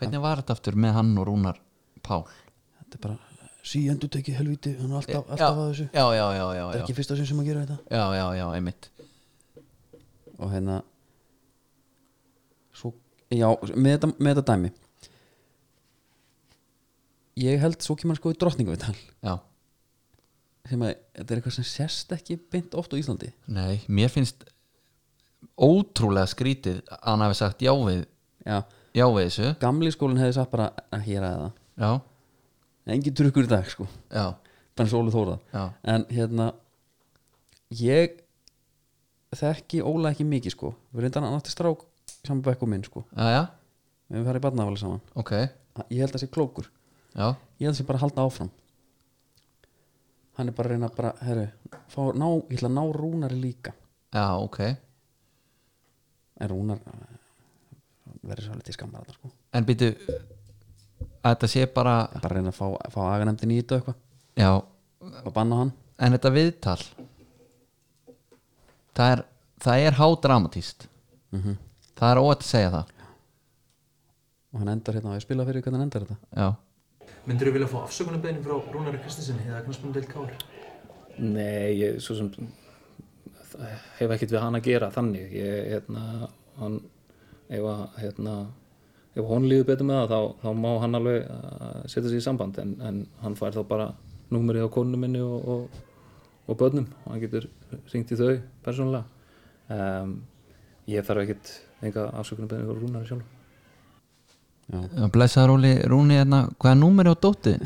[SPEAKER 3] hvernig var þetta aftur með hann og Rúnar Pál
[SPEAKER 2] þetta er bara sí, endur tekið helviti, hann er alltaf,
[SPEAKER 3] já,
[SPEAKER 2] alltaf að þessu
[SPEAKER 3] já, já, já, já,
[SPEAKER 2] þetta er
[SPEAKER 3] já.
[SPEAKER 2] ekki fyrsta sinn sem að gera þetta
[SPEAKER 3] já, já, já, einmitt
[SPEAKER 2] og hérna svo, já, með þetta, með þetta dæmi ég held svo kemur hann sko í drottningavital
[SPEAKER 3] já,
[SPEAKER 2] sem að þetta er eitthvað sem sérst ekki beint oft á Íslandi
[SPEAKER 3] nei, mér finnst ótrúlega skrítið að hann hafi sagt já við
[SPEAKER 2] já,
[SPEAKER 3] já við þessu
[SPEAKER 2] gamli skólinn hefði sagt bara að hér að það,
[SPEAKER 3] já,
[SPEAKER 2] engin trukkur í dag sko,
[SPEAKER 3] já,
[SPEAKER 2] bara eins og Óli Þórðar
[SPEAKER 3] já,
[SPEAKER 2] en hérna ég þekki Óla ekki mikið sko við reyndan hann átti strák saman bekk og minn sko
[SPEAKER 3] já, já
[SPEAKER 2] við höfum farið í barnafæli saman
[SPEAKER 3] ok,
[SPEAKER 2] ég held að sé klókur,
[SPEAKER 3] já,
[SPEAKER 2] ég held að sé bara að halda áfram hann er bara að reyna að bara, herru fá, ná, ég ætla að ná Rúnari líka
[SPEAKER 3] já, ok
[SPEAKER 2] en Rúnar eh, verður svo litið skammar þetta sko
[SPEAKER 3] en býtu að þetta sé bara
[SPEAKER 2] Ég er bara að reyna að fá, fá aganemdin í þetta og eitthvað
[SPEAKER 3] já,
[SPEAKER 2] og banna hann,
[SPEAKER 3] en þetta viðtal það er, það er hádramatíst það er óætt að segja það
[SPEAKER 2] og hann endar hérna og ég spila fyrir því hvernig hann endar þetta
[SPEAKER 3] já,
[SPEAKER 4] Myndur þú vilja fá afsökunarbeðin frá Rúnari Kristinsen eða Knarsbundel Kár?
[SPEAKER 5] Nei, ég svo sem hef ekkert við hann að gera þannig ég, hérna, hann ef, að, hérna, ef hún líður betur með það þá, þá má hann alveg uh, setja sig í samband en, en hann fær þá bara númerið á konu minni og, og, og börnum og hann getur ringt í þau persónulega um, ég þarf ekkert enga afsökunum beðinu fyrir rúnari sjálf
[SPEAKER 3] blessaður Rúli Rúni hérna, hvað er númeri á dótið?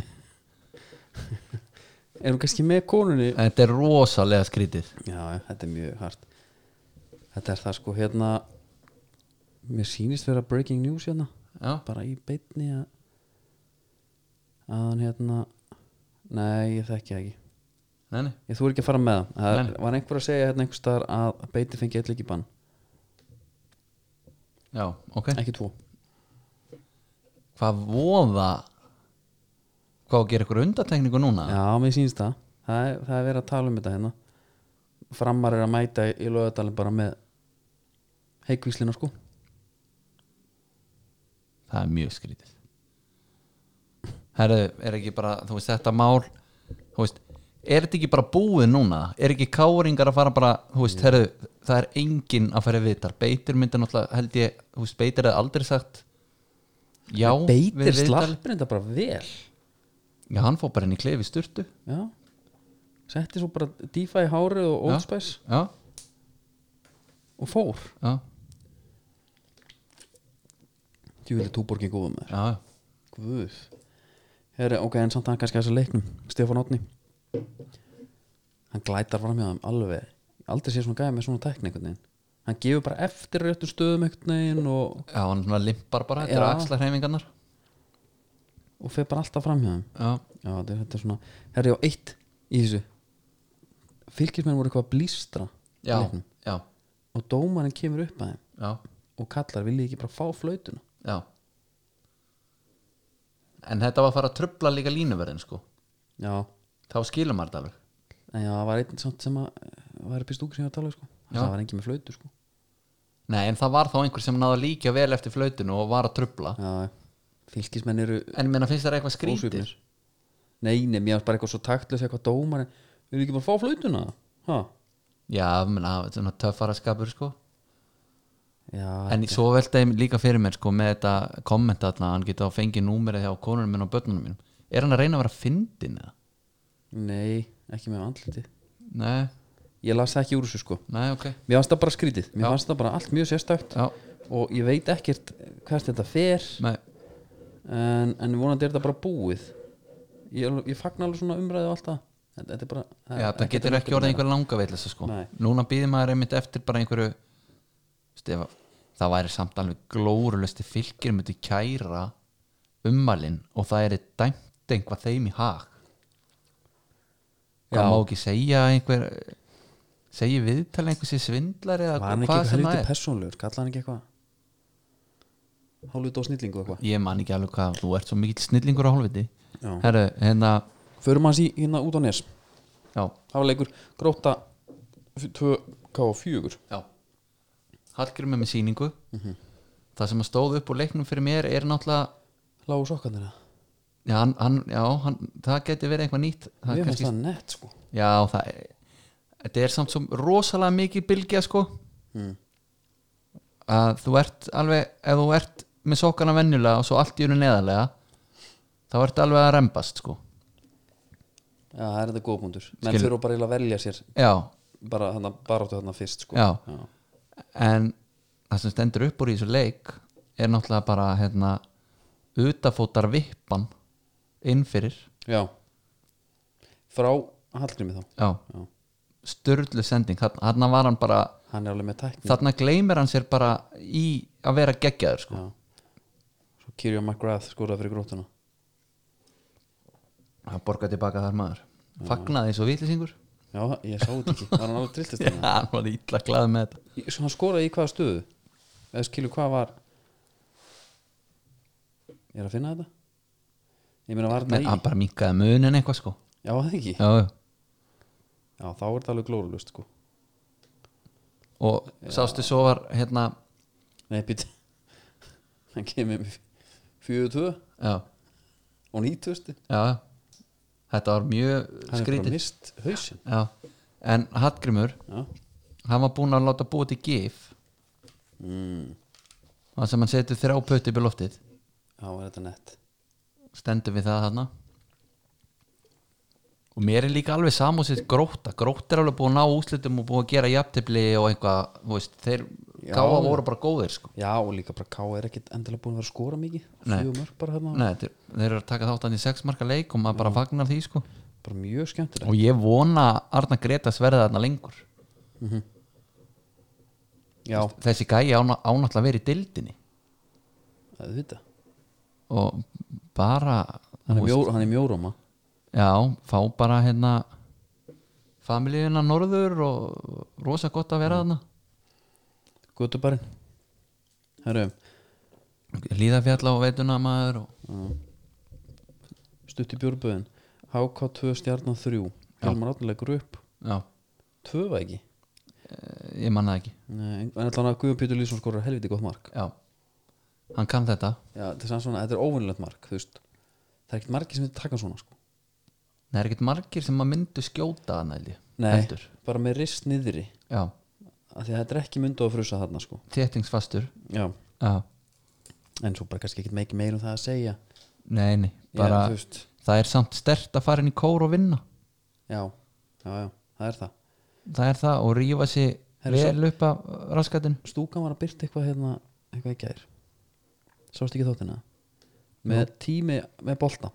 [SPEAKER 2] er hún kannski með konunni
[SPEAKER 3] þetta er rosalega skrítið
[SPEAKER 2] já, já, þetta er mjög hart þetta er það sko hérna mér sýnist vera breaking news hérna
[SPEAKER 3] já,
[SPEAKER 2] bara í beinni að að hann hérna nei, ég þekki það ekki
[SPEAKER 3] nei, nei,
[SPEAKER 2] ég þú er ekki að fara með það það
[SPEAKER 3] Nei.
[SPEAKER 2] var einhver að segja hérna einhver staðar að beiti fengi eitthvað ekki bann
[SPEAKER 3] já, ok
[SPEAKER 2] ekki tvo
[SPEAKER 3] hvað voða hvað á að gera ykkur undatekningu núna
[SPEAKER 2] já, mér sýnist það það er, það er verið að tala um þetta hérna framar er að mæta í lögadalinn bara með heikvíslina sko
[SPEAKER 3] það er mjög skrítið herru, er ekki bara þú veist, þetta mál þú veist, er þetta ekki bara búið núna er ekki káringar að fara bara þú veist, herru, það er enginn að fara í viðtal beitir myndi náttúrulega, held ég þú veist, beitir eða aldrei sagt já, við
[SPEAKER 2] beitir
[SPEAKER 3] viðtal.
[SPEAKER 2] slappin þetta bara vel
[SPEAKER 3] já, hann fór bara inn í klefi styrtu
[SPEAKER 2] já setti svo bara dífa í hárið og
[SPEAKER 3] Já.
[SPEAKER 2] Old Spice
[SPEAKER 3] já,
[SPEAKER 2] og fór
[SPEAKER 3] já,
[SPEAKER 2] djúli túborgin góðum þér
[SPEAKER 3] já, já.
[SPEAKER 2] Guð Heri, Ok, en samt hann kannski að þessu leiknum Stefán Otni Hann glætar fram hjá þeim alveg Ég Aldrei sé svona gæði með svona tækni einhvern veginn Hann gefur bara eftir réttu stöðum einhvern veginn og,
[SPEAKER 3] já hann svona limpar bara, þetta
[SPEAKER 2] Já.
[SPEAKER 3] eru axla hreyfingarnar
[SPEAKER 2] og fer bara alltaf fram hjá þeim
[SPEAKER 3] já,
[SPEAKER 2] Já, þetta er, þetta er svona Herri á eitt í þessu Fylkismenn voru eitthvað að blístra í
[SPEAKER 3] já,
[SPEAKER 2] leiknum.
[SPEAKER 3] já,
[SPEAKER 2] Og dómarinn kemur upp að þeim
[SPEAKER 3] já.
[SPEAKER 2] Og kallar, vilji ekki bara fá flautuna
[SPEAKER 3] Já En þetta var að fara að trubla líka línuverðin sko
[SPEAKER 2] Já,
[SPEAKER 3] Þá skilum maður þetta alveg
[SPEAKER 2] en já, það var einn samt sem að eh, var upp í stúku sem ég var að tala við, sko.
[SPEAKER 3] Já.
[SPEAKER 2] Það var engin með flautu sko.
[SPEAKER 3] Nei, en það var þá einhver sem náði að líka vel eftir flautinu og var að trubla
[SPEAKER 2] Já, fylkismenn eru
[SPEAKER 3] En ég meina finnst það eitthvað skrítið
[SPEAKER 2] Ósvífnir. Nei, nei, mér var bara eitthvað svo taktlis eitthvað dómar Við erum ekki bara að fá flautuna ha?
[SPEAKER 3] Já, ég meina, þetta er svona töffaraskapur sko
[SPEAKER 2] Já,
[SPEAKER 3] En svo velta ég líka fyrir mér sko með þetta kommenta að hann geta að fengi númerið hjá konunum minn og börnunum mínum Er hann að reyna að vera fyndin eða?
[SPEAKER 2] nei, ekki með andliti
[SPEAKER 3] Nei,
[SPEAKER 2] Ég las það ekki úr þessu sko
[SPEAKER 3] nei, ok
[SPEAKER 2] Mér fannst það bara skrítið, mér fannst það bara allt mjög sérstakt
[SPEAKER 3] Já,
[SPEAKER 2] Og ég veit ekkert hvert þetta fer
[SPEAKER 3] nei,
[SPEAKER 2] En, en vonandi er þetta bara búið Ég, alveg- ég fagna alveg svona umræðu og allt það Þetta, þetta er bara það
[SPEAKER 3] Já,
[SPEAKER 2] er
[SPEAKER 3] það
[SPEAKER 2] ekkert að
[SPEAKER 3] getur ekki
[SPEAKER 2] nokkuð
[SPEAKER 3] orðið
[SPEAKER 2] meira.
[SPEAKER 3] einhver langa veitlisa sko
[SPEAKER 2] Nei.
[SPEAKER 3] Núna býðir maður einmitt eftir bara einhverju stefa, það væri samt alveg glórulusti fylgir myndi kæra ummalinn og það er dæmt einhvað þeim í hag
[SPEAKER 2] Já.
[SPEAKER 3] Það má ekki segja einhver segja viðtal einhver sér svindlar eða
[SPEAKER 2] Var hann ekki
[SPEAKER 3] hvað
[SPEAKER 2] eitthvað
[SPEAKER 3] sem það
[SPEAKER 2] helviti
[SPEAKER 3] er
[SPEAKER 2] persónlegur, kallaði hann ekki eitthvað Hálfut og snillingu eitthvað
[SPEAKER 3] Ég man ekki alveg hvað, þú ert svo mikill snillingur á hálfviti
[SPEAKER 2] Já.
[SPEAKER 3] Herru, hérna
[SPEAKER 2] Förum hans í hérna út á nes
[SPEAKER 3] Já,
[SPEAKER 2] Það var leikur gróta 2K4
[SPEAKER 3] Já Hallgrim er með sýningu Það sem að stóð upp úr leiknum fyrir mér er náttúrulega
[SPEAKER 2] Lágu sokkarnir það
[SPEAKER 3] Já, hann, hann, já hann, það geti verið eitthvað nýtt það
[SPEAKER 2] Mér fannst
[SPEAKER 3] kannski,
[SPEAKER 2] það nett sko
[SPEAKER 3] Já, það er Þetta er samt svo rosalega mikið bylgja sko að þú ert alveg ef þú ert með sokkana venjulega og svo allt í unni neðarlega þá ert alveg að rembast sko
[SPEAKER 2] Já, það er þetta góðbundur Menn
[SPEAKER 3] Skil-
[SPEAKER 2] þurfa bara eiginlega að velja sér
[SPEAKER 3] Já,
[SPEAKER 2] bara þarna baráttu þarna fyrst sko
[SPEAKER 3] Já. en það sem stendur upp úr í þessu leik er náttúrulega bara hérna utafótar vippan innfyrir
[SPEAKER 2] Já. Frá Hallgrími þá
[SPEAKER 3] já,
[SPEAKER 2] Já.
[SPEAKER 3] störlu sending Þarna- þarna var hann bara,
[SPEAKER 2] Hann er alveg með tækni
[SPEAKER 3] þarna gleymir hann sér bara í að vera geggjaður sko.
[SPEAKER 2] Já. Svo Kyrjón McGrath skoraði fyrir grótuna
[SPEAKER 3] hann borgar tilbaka þar maður fagnaði svo vitlisingur
[SPEAKER 2] Já, ég sá þetta ekki Var hann alveg trilltist þarna
[SPEAKER 3] hann var ítla glaði með þetta
[SPEAKER 2] Í- Svo hann skoraði í hvaða stöðu Eða skilur hvað var Ég er að finna þetta Ég meina var
[SPEAKER 3] Men,
[SPEAKER 2] þetta
[SPEAKER 3] hann
[SPEAKER 2] í
[SPEAKER 3] bara minkaði munin eitthvað sko.
[SPEAKER 2] Já, það ekki
[SPEAKER 3] já, já.
[SPEAKER 2] Já, þá er þetta alveg glórulust sko
[SPEAKER 3] og sástu svo var hérna
[SPEAKER 2] Nei, Nei, býtt Hann kemur með 42
[SPEAKER 3] já,
[SPEAKER 2] og 90
[SPEAKER 3] já þetta var mjög
[SPEAKER 2] Hann er bara
[SPEAKER 3] skrítið
[SPEAKER 2] mist hausinn
[SPEAKER 3] já. en Hallgrimur
[SPEAKER 2] Já,
[SPEAKER 3] hann var búinn að láta búa til gif mm. sem hann setur þrjá pötti upp í loftið
[SPEAKER 2] þá var þetta nett
[SPEAKER 3] stendur við það þarna og mér er líka alveg samúsið gróta, gróta er alveg búin að ná úslitum og búin að gera jafntefli og eitthvað þú veist, þeir
[SPEAKER 2] Já.
[SPEAKER 3] gáða voru bara góðir sko.
[SPEAKER 2] Já, og líka bara K er ekkit endilega búin að vera að skora mikið
[SPEAKER 3] Nei.
[SPEAKER 2] Fjögur mörg bara hérna
[SPEAKER 3] Nei, þeir, þeir eru að taka þáttan í sex marka leik og maður bara fagnar því sko.
[SPEAKER 2] Bara mjög skemmtilegt
[SPEAKER 3] og ég vona að Arna Gretas verði þarna lengur
[SPEAKER 2] Já,
[SPEAKER 3] þessi gæi ána- á náttúrulega verið í dildinni
[SPEAKER 2] það er þetta
[SPEAKER 3] og bara
[SPEAKER 2] Hann
[SPEAKER 3] þú
[SPEAKER 2] er,
[SPEAKER 3] veist,
[SPEAKER 2] mjó, hann er mjóróma
[SPEAKER 3] Já, fá bara hérna familíuna norður og rosa gott að vera þarna
[SPEAKER 2] Götubarinn Herru,
[SPEAKER 3] Líðafjalla og veituna maður og...
[SPEAKER 2] stutt í björböðin HK2 stjarnan 3 Helmar Átnilega grupp
[SPEAKER 3] Já,
[SPEAKER 2] 2 var ekki
[SPEAKER 3] Eh, ég manna ekki
[SPEAKER 2] Nei, en allan að Guðjón Pítur Lýsson skorar helviti gott mark
[SPEAKER 3] Já, hann kann þetta
[SPEAKER 2] Já, þetta er samt svona, þetta er óvinnilegt mark þú veist, það er ekkert margir sem þetta taka svona sko.
[SPEAKER 3] Það er ekkert margir sem að myndu skjóta þarna held ég
[SPEAKER 2] Nei,
[SPEAKER 3] Heldur.
[SPEAKER 2] bara með rist niðri
[SPEAKER 3] Já,
[SPEAKER 2] af því að þetta er ekki myndu að frusa þarna sko.
[SPEAKER 3] þéttingsfastur
[SPEAKER 2] Já,
[SPEAKER 3] Já,
[SPEAKER 2] en svo bara kannski ekkert meikið meir um það að segja
[SPEAKER 3] nei, nei bara,
[SPEAKER 2] Já, þú veist,
[SPEAKER 3] Það er samt stert að fara inn í kór og vinna
[SPEAKER 2] já, já, já, það er það
[SPEAKER 3] Það er það og rífa sig
[SPEAKER 2] Herra,
[SPEAKER 3] vel upp af raskatinn
[SPEAKER 2] Stúkan var að byrta eitthvað hérna eitthvað í gær Sást ekki þóttina með tími, með bolta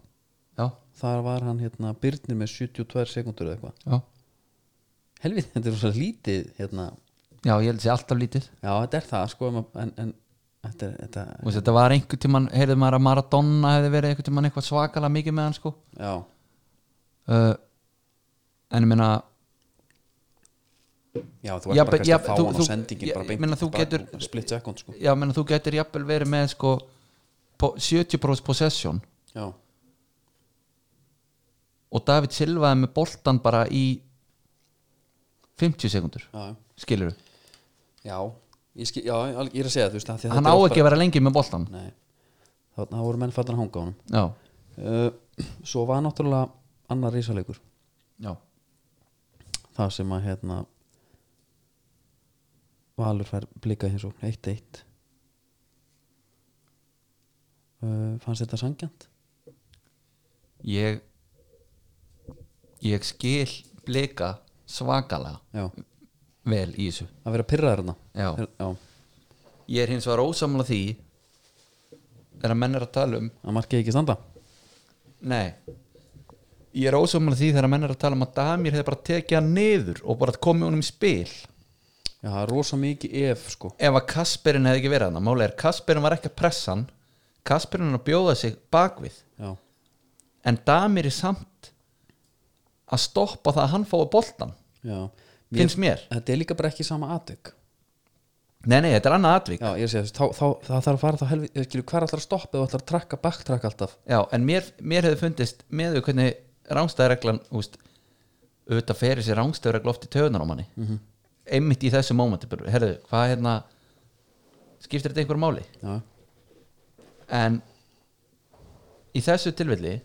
[SPEAKER 3] Já,
[SPEAKER 2] þar var hann hérna Byrnir með 72 sekundur eða eitthvað
[SPEAKER 3] já,
[SPEAKER 2] helvið, þetta er svo lítið hérna,
[SPEAKER 3] já, ég held sér alltaf lítið
[SPEAKER 2] já, þetta er það sko, en, en, en þetta er, þetta
[SPEAKER 3] Þú veist, þetta var einhvern tímann, heyrðu maður að Maradona hefði verið einhvern tímann eitthvað svakalega mikið með hann sko
[SPEAKER 2] já,
[SPEAKER 3] uh, en ég meina
[SPEAKER 2] já, þú ert
[SPEAKER 3] Já,
[SPEAKER 2] bara
[SPEAKER 3] but-
[SPEAKER 2] kannski
[SPEAKER 3] já,
[SPEAKER 2] að fá
[SPEAKER 3] þú-
[SPEAKER 2] hann á
[SPEAKER 3] þú-
[SPEAKER 2] sendingin
[SPEAKER 3] já,
[SPEAKER 2] bara
[SPEAKER 3] ég
[SPEAKER 2] beint
[SPEAKER 3] meina, þú
[SPEAKER 2] bara
[SPEAKER 3] getur-
[SPEAKER 2] split second sko
[SPEAKER 3] já, meina, þú getur jafnvel verið með sko po- 70% possession
[SPEAKER 2] já,
[SPEAKER 3] og David Silvaði með boltan bara í 50 sekundur
[SPEAKER 2] já,
[SPEAKER 3] skilur við,
[SPEAKER 2] já ég, skil, já, al- ég er að segja þú veist af því að
[SPEAKER 3] hann á
[SPEAKER 2] þetta er oft
[SPEAKER 3] ekki að vera lengi með boltan
[SPEAKER 2] bara, nei, þá, þá voru menn fattan að hanga á
[SPEAKER 3] já,
[SPEAKER 2] honum uh, svo var náttúrulega annar rísaleikur
[SPEAKER 3] já,
[SPEAKER 2] það sem að hérna Valur fær blika hins og 1-1 uh, fannst þetta sangjant?
[SPEAKER 3] ég ég skil blika svakalega
[SPEAKER 2] já,
[SPEAKER 3] vel í þessu
[SPEAKER 2] að vera pyrraður hérna
[SPEAKER 3] Já.
[SPEAKER 2] já,
[SPEAKER 3] ég er hins vegar ósamla því er að menn er að tala um
[SPEAKER 2] að markið ekki standa
[SPEAKER 3] Nei Ég er ósamlega því þegar menn er að tala um að Damir hefði bara tekið hann niður og bara komið honum í spil
[SPEAKER 2] já, það er rosa mikið ef sko
[SPEAKER 3] ef að Kasperin hefði ekki verið hann Máli er Kasperin var ekki að pressa hann Kasperin er að bjóða sig bakvið
[SPEAKER 2] já,
[SPEAKER 3] en Damir er samt að stoppa það að hann fái boltan
[SPEAKER 2] já
[SPEAKER 3] Finnst mér.
[SPEAKER 2] þetta er líka bara ekki sama aðtök
[SPEAKER 3] Nei, nei, þetta er annað atvik Já,
[SPEAKER 2] já, ég sé þess, þá, þá, það þarf að fara þá helvi ég skilur, hver allar að stoppa eða allar að trakka baktrakka alltaf
[SPEAKER 3] en mér, mér hefði fundist með því hvernig rángstæðareglan úst, auðvitað ferir sér rángstæðaregla oft í töðunar á manni einmitt í þessu mómenti, bara, herðu, hvað hérna skiptir þetta einhver máli?
[SPEAKER 2] já,
[SPEAKER 3] en í þessu tilfelli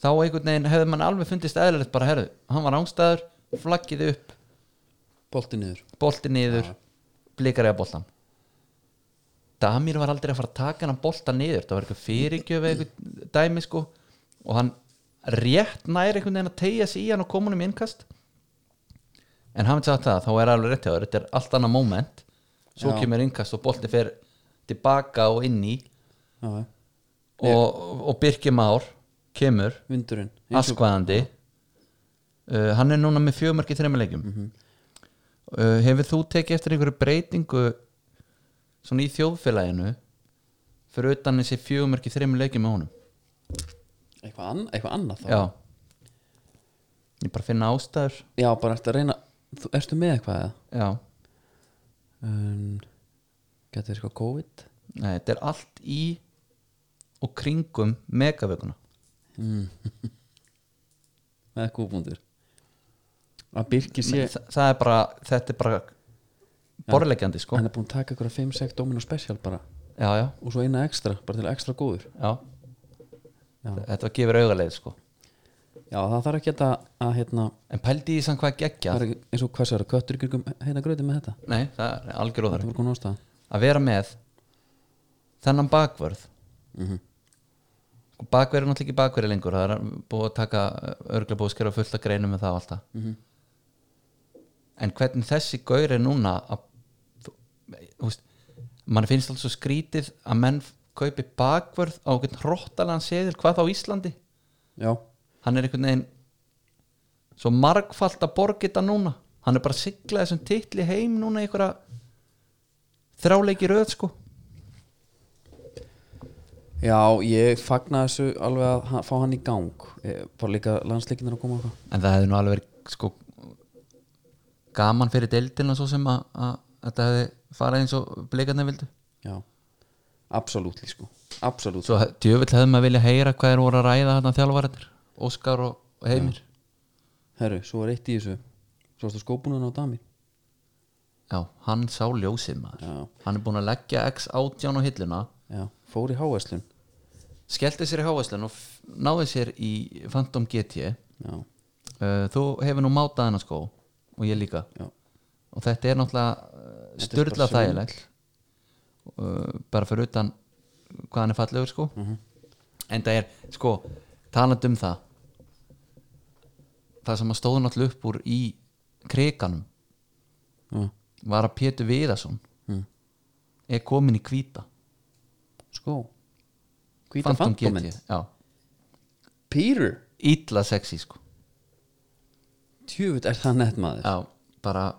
[SPEAKER 3] þá einhvern veginn hefði mann alveg fundist eðlilegt bara herðu, hann var ángstæður flaggið upp,
[SPEAKER 2] bolti niður
[SPEAKER 3] bolti niður blikar eða boltan Damir var aldrei að fara að taka hann boltan niður, það var eitthvað fyrirgjöf eitthvað dæmi sko og hann rétt nær einhvern veginn að tegja sig í hann og koma hann um innkast en hann veit sagt það, þá er alveg rétt hjá þér, þetta er allt annað moment svo
[SPEAKER 2] Já.
[SPEAKER 3] kemur innkast og bolti fer tilbaka og inn í
[SPEAKER 2] já, já.
[SPEAKER 3] og, og Birki Már kemur
[SPEAKER 2] vindurinn Eins og-
[SPEAKER 3] askvaðandi uh, hann er núna með fjögumörk í þreymur leikjum
[SPEAKER 2] Mhm.
[SPEAKER 3] uh, hefur þú tekið eftir einhverju breytingu svona í þjóðfélaginu fyrir utan þessi fjögumörk í þreymur leikjum með honum
[SPEAKER 2] eitthvað, an, eitthvað annað þá
[SPEAKER 3] já ég bara finna ástæður
[SPEAKER 2] já, bara ertu að reyna þú, ertu með eitthvað eða?
[SPEAKER 3] já,
[SPEAKER 2] um, getur verið eitthvað COVID
[SPEAKER 3] Nei, þetta er allt í og kringum megavökunna
[SPEAKER 2] með kúpundur að Birkir sé
[SPEAKER 3] Þa, það er bara, þetta er bara borðleggjandi sko
[SPEAKER 2] hann er búin að taka ykkur að 5-6 Domino Special bara
[SPEAKER 3] já, já,
[SPEAKER 2] og svo eina ekstra, bara til ekstra góður
[SPEAKER 3] já,
[SPEAKER 2] Já.
[SPEAKER 3] þetta gefur augaleið sko
[SPEAKER 2] já, það þarf ekki að, að hérna,
[SPEAKER 3] en pældi í samt hvað geggja
[SPEAKER 2] það er ekki- eins og hvað sér köttur ykkur heina gröði með þetta
[SPEAKER 3] nei, það er algjör
[SPEAKER 2] það
[SPEAKER 3] óþar
[SPEAKER 2] var komin ástæða
[SPEAKER 3] að vera með þennan bakvörð og bakverð er náttúrulega ekki bakverð lengur það er búið að taka örgla búið að skera fullt að greinum með það og allt það en hvernig þessi gaur er núna að þú- þú veist, mann finnst alltaf svo skrítið að menn f- kaupi bakvörð á einhvern hróttalega seðil hvað þá Íslandi
[SPEAKER 2] já,
[SPEAKER 3] hann er einhvern veginn svo margfalt að borga þetta núna hann er bara að sigla þessum titli heim núna í einhverja þráleiki röð sko
[SPEAKER 2] já, ég fagna þessu alveg að ha- fá hann í gang Ég- bara líka landsleikinnir að koma og eitthvað
[SPEAKER 3] en það hefði nú alveg verið sko gaman fyrir deildina svo sem að, að þetta hefði farið eins og blikarnir vildu
[SPEAKER 2] já, absolutt sko, absolutt
[SPEAKER 3] svo hef- djöfull hefði maður vilja heyra hvað er voru að ræða þarna þjálfaratir Óskar og, og Heimir
[SPEAKER 2] herru, svo er eitt í þessu svo varstu skópunan á dami
[SPEAKER 3] já, hann sá ljósið maður
[SPEAKER 2] Já.
[SPEAKER 3] hann er búin að leggja x átján á hilluna
[SPEAKER 2] já, fór í háæslun
[SPEAKER 3] skellti sér í hávæslan og f- náði sér í Phantom GT
[SPEAKER 2] já,
[SPEAKER 3] uh, þú hefur nú mátað hennar skó og ég líka
[SPEAKER 2] já,
[SPEAKER 3] og þetta er náttúrulega eh, styrla
[SPEAKER 2] bara
[SPEAKER 3] þægileg uh, bara fyrir utan hvað hann er fallegur sko
[SPEAKER 2] Mhm.
[SPEAKER 3] en það er sko talandi um það það sem að stóðu náttúrulega upp úr í kriganum
[SPEAKER 2] já,
[SPEAKER 3] var að Pétur Viðarsson
[SPEAKER 2] Mm.
[SPEAKER 3] er komin í hvíta
[SPEAKER 2] sko hvíta fantominn
[SPEAKER 3] já,
[SPEAKER 2] Peter,
[SPEAKER 3] ítla sexy sko
[SPEAKER 2] tjöfut er það nett maður
[SPEAKER 3] já, bara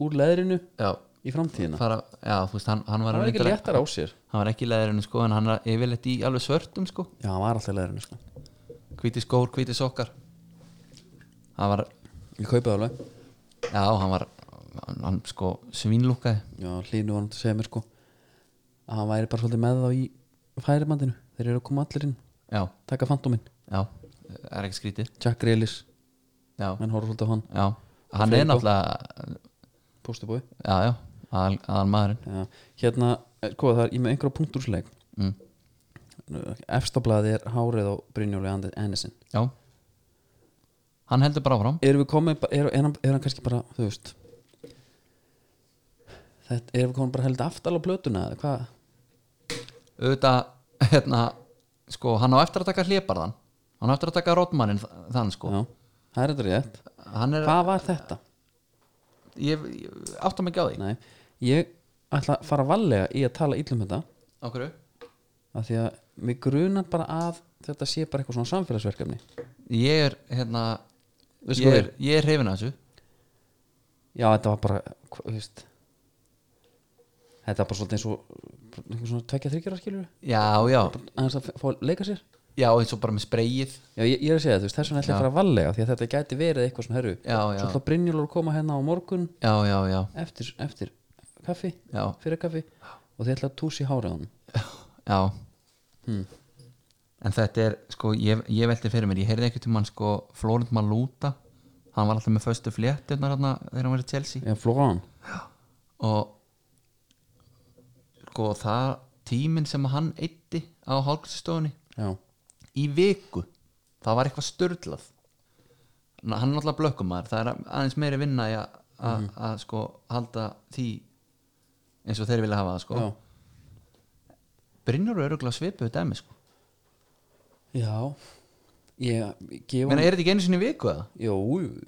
[SPEAKER 2] úr leðrinu
[SPEAKER 3] já,
[SPEAKER 2] í framtíðina
[SPEAKER 3] fara, já, þú veist, hann, hann var
[SPEAKER 2] það var ekki
[SPEAKER 3] reyndar-
[SPEAKER 2] léttar á sér
[SPEAKER 3] hann var ekki leðurinn sko en hann er yfirleitt í alveg svörtum sko
[SPEAKER 2] já, hann var alltaf í leðrinu sko.
[SPEAKER 3] hvíti skór, hvíti sokkar hann var
[SPEAKER 2] ég kaupið alveg
[SPEAKER 3] já, hann var hann, hann sko svínlúkaði
[SPEAKER 2] já, hlínu var hann að segja mér sko að hann væri bara svolítið með þá í færimandinu þeir eru að koma allir inn
[SPEAKER 3] já,
[SPEAKER 2] taka fantóminn,
[SPEAKER 3] já, er ekki skrítið
[SPEAKER 2] Jack Reelis
[SPEAKER 3] já,
[SPEAKER 2] menn horfður svolítið á hann,
[SPEAKER 3] já, hann er
[SPEAKER 2] Fengo.
[SPEAKER 3] náttúrulega
[SPEAKER 2] postubói
[SPEAKER 3] já, já, aðal, aðal maðurinn
[SPEAKER 2] já. hérna, eh, sko það er ég er með einhverja punktursleik
[SPEAKER 3] mm.
[SPEAKER 2] efstablaði er hárið á Brynjóli Andi- Andersen
[SPEAKER 3] já hann heldur bara áfram
[SPEAKER 2] erum við komið, ba- er, er, hann, er hann kannski bara þú veist þetta, erum við komið bara held aftal á plötuna eða hvað,
[SPEAKER 3] auðvitað, hérna sko, hann á eftir að taka hlébarðan hann á eftir að taka rótmannin þann sko
[SPEAKER 2] já, það er þetta rétt
[SPEAKER 3] hann er,
[SPEAKER 2] hvað var þetta?
[SPEAKER 3] ég, ég átta mig ekki á því
[SPEAKER 2] Nei, ég ætla að fara varlega í að tala illum þetta
[SPEAKER 3] á hverju?
[SPEAKER 2] af því að mig grunar bara að þetta sé bara eitthvað svona samfélagsverkefni
[SPEAKER 3] ég er hérna
[SPEAKER 2] Veistu
[SPEAKER 3] ég
[SPEAKER 2] hvað
[SPEAKER 3] er, ég er hrifin að þessu
[SPEAKER 2] já, þetta var bara, hva- þú veist þetta var bara svolítið eins og einhver svona tvekja þryggjara skilur
[SPEAKER 3] já, já,
[SPEAKER 2] aðeins að f- fá að leika sér
[SPEAKER 3] já, eins og bara með spreyið
[SPEAKER 2] Já, ég, ég er að segja það, þú veist, þess vegna ætla ég að fara að vallega því að þetta gæti verið eitthvað svona herru
[SPEAKER 3] Já, já.
[SPEAKER 2] Svo ætla Brynjólfur að koma hérna á morgun
[SPEAKER 3] já, já, já,
[SPEAKER 2] eftir, eftir kaffi,
[SPEAKER 3] já,
[SPEAKER 2] fyrir kaffi og þið ætla að túsi hárið á hann
[SPEAKER 3] já.
[SPEAKER 2] Hmm.
[SPEAKER 3] en þetta er sko, ég, ég velti fyrir mér ég heyrði ekkert um hann sko, Florent Maluta hann var alltaf með föstu fléttunar þarna þegar hann var í Chelsea
[SPEAKER 2] Já, Flóran
[SPEAKER 3] og sko, það tíminn sem hann eitti á hálfkvæmstofunni
[SPEAKER 2] Já,
[SPEAKER 3] í viku það var eitthvað störlað hann er náttúrulega blökkumar það er aðeins meiri vinna í að
[SPEAKER 2] Mhm.
[SPEAKER 3] mm. að sko halda því eins og þeir vilja hafa það sko
[SPEAKER 2] já,
[SPEAKER 3] Brynjur eru örugglega svipuðu dæmi sko
[SPEAKER 2] já Ég, ég gef
[SPEAKER 3] Menna,
[SPEAKER 2] hann
[SPEAKER 3] er þetta ekki einu sinni í viku eða?
[SPEAKER 2] Jó, er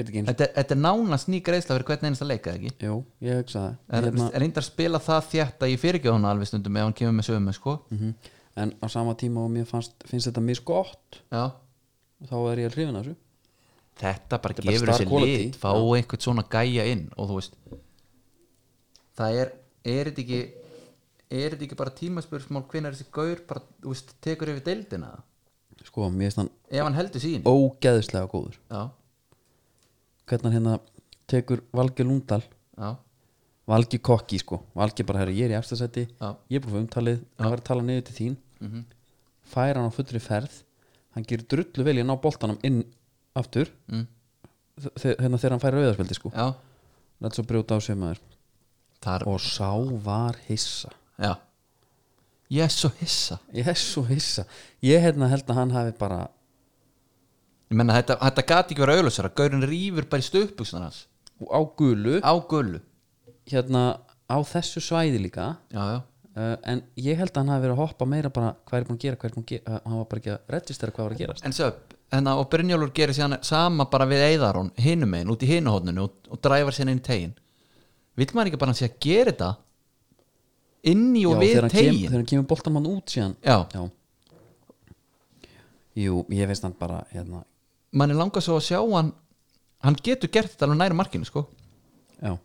[SPEAKER 2] þetta ekki eins
[SPEAKER 3] Þetta, er- þetta er nánast ný greiðsla fyrir hvern einasta leika ekki
[SPEAKER 2] Jú, ég hugsa það
[SPEAKER 3] er
[SPEAKER 2] hérna,
[SPEAKER 3] hérna... reyndar að spila það þjætt að ég fyrir ekki hann alveg stundum ef hann kemur með sömu sko
[SPEAKER 2] mhm. En á sama tíma og mér fannst, finnst þetta misgott
[SPEAKER 3] já
[SPEAKER 2] þá er ég að hrifna þessu Þetta
[SPEAKER 3] þetta bara
[SPEAKER 2] er bara
[SPEAKER 3] gefur
[SPEAKER 2] star
[SPEAKER 3] þessi
[SPEAKER 2] quality.
[SPEAKER 3] lit fá einhvern svona gæja inn og þú veist það er, er þetta ekki er þetta ekki bara tímaspursmál hvenær þessi gaur bara, þú veist, tekur yfir deildina
[SPEAKER 2] Sko, mér finnst hann
[SPEAKER 3] ef hann heldur sín
[SPEAKER 2] ógeðislega góður
[SPEAKER 3] já,
[SPEAKER 2] Hvernig hann hérna tekur Valge Lundal
[SPEAKER 3] já,
[SPEAKER 2] Valgi kokki sko, Valgi bara herri, ég er í efstasæti
[SPEAKER 3] Já. Mhm.
[SPEAKER 2] ég er búin fyrir umtalið, hann var að tala niður til þín fær hann á fullri ferð hann gerir drullu vel í að ná boltanum inn aftur
[SPEAKER 3] Mm.
[SPEAKER 2] þe- þe- hérna þegar hann fær auðarspildi sko
[SPEAKER 3] já
[SPEAKER 2] lætt svo brjóta á sig maður
[SPEAKER 3] Þar,
[SPEAKER 2] og sá var hissa
[SPEAKER 3] já Ég er svo hissa
[SPEAKER 2] ég er svo hissa ég hérna held að hann hafi bara
[SPEAKER 3] Ég menna þetta, þetta gati ekki verið auðlösara Gaurin rýfur bara í stöpbuksunar hans
[SPEAKER 2] á gulu
[SPEAKER 3] Á gullu
[SPEAKER 2] hérna á þessu svæði líka
[SPEAKER 3] Já, já
[SPEAKER 2] uh, en ég held að hann hafi verið að hoppa meira bara hvað er búin að gera, hvað er búin að gera uh, hann var bara ekki að registera hvað var að gerast
[SPEAKER 3] En svo, hérna, og Brynjólfur gerir síðan sama bara við Eðarón, hinum megin, út í hinuhóðnunu og, og dræfar síðan inn í tegin Vill maður ekki bara sé að gera þetta inni og við
[SPEAKER 2] þegar hann, kem,
[SPEAKER 3] tegin
[SPEAKER 2] þegar hann kemur boltan mann út síðan
[SPEAKER 3] Já,
[SPEAKER 2] já jú, ég veist hann bara hérna,
[SPEAKER 3] manni langar svo að sjá hann hann getur gert þetta alveg næri markinu sko
[SPEAKER 2] já,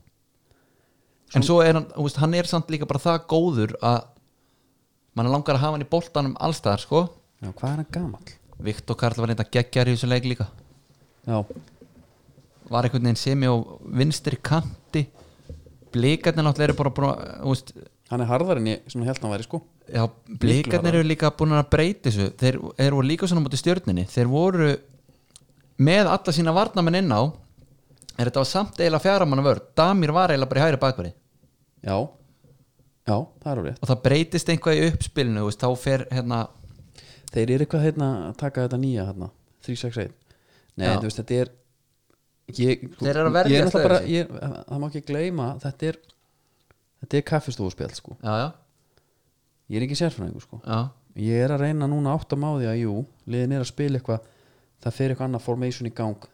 [SPEAKER 3] en svo er hann, þú veist, hann er samt líka bara það góður að manni langar að hafa hann í boltanum allstaðar sko
[SPEAKER 2] já, hvað er hann gamall
[SPEAKER 3] Viktor Karl var eitthvað geggjar í þessu leik líka
[SPEAKER 2] já,
[SPEAKER 3] var einhvern veginn semi á vinstri kanti blikarnir náttúrulega eru bara, bara þú veist,
[SPEAKER 2] hann er harðar en ég svona held hann væri sko
[SPEAKER 3] já, blikarnir eru líka búin að breyta þessu þeir eru líka svona mútið stjörninni þeir voru með alla sína varnamenn inn á er þetta var samt eiginlega fjara manna vörð Damir var eiginlega bara í hægri bakverði
[SPEAKER 2] já, já, það er alveg rétt
[SPEAKER 3] og það breytist eitthvað í uppspilinu þú veist, þá fer hérna
[SPEAKER 2] þeir eru eitthvað hérna að taka þetta nýja hérna 361 nei,
[SPEAKER 3] Já.
[SPEAKER 2] þú veist, þetta er ég,
[SPEAKER 3] Þeir eru að
[SPEAKER 2] ég
[SPEAKER 3] verjast
[SPEAKER 2] náttúrulega bara, ég, það má ekki gleyma þetta er, þetta er kaffistofspjall sko.
[SPEAKER 3] já, já,
[SPEAKER 2] ég er ekki sérfræðingur sko.
[SPEAKER 3] já,
[SPEAKER 2] ég er að reyna núna að átta máði að jú liðin er að spila eitthvað það fer eitthvað annað formation í gang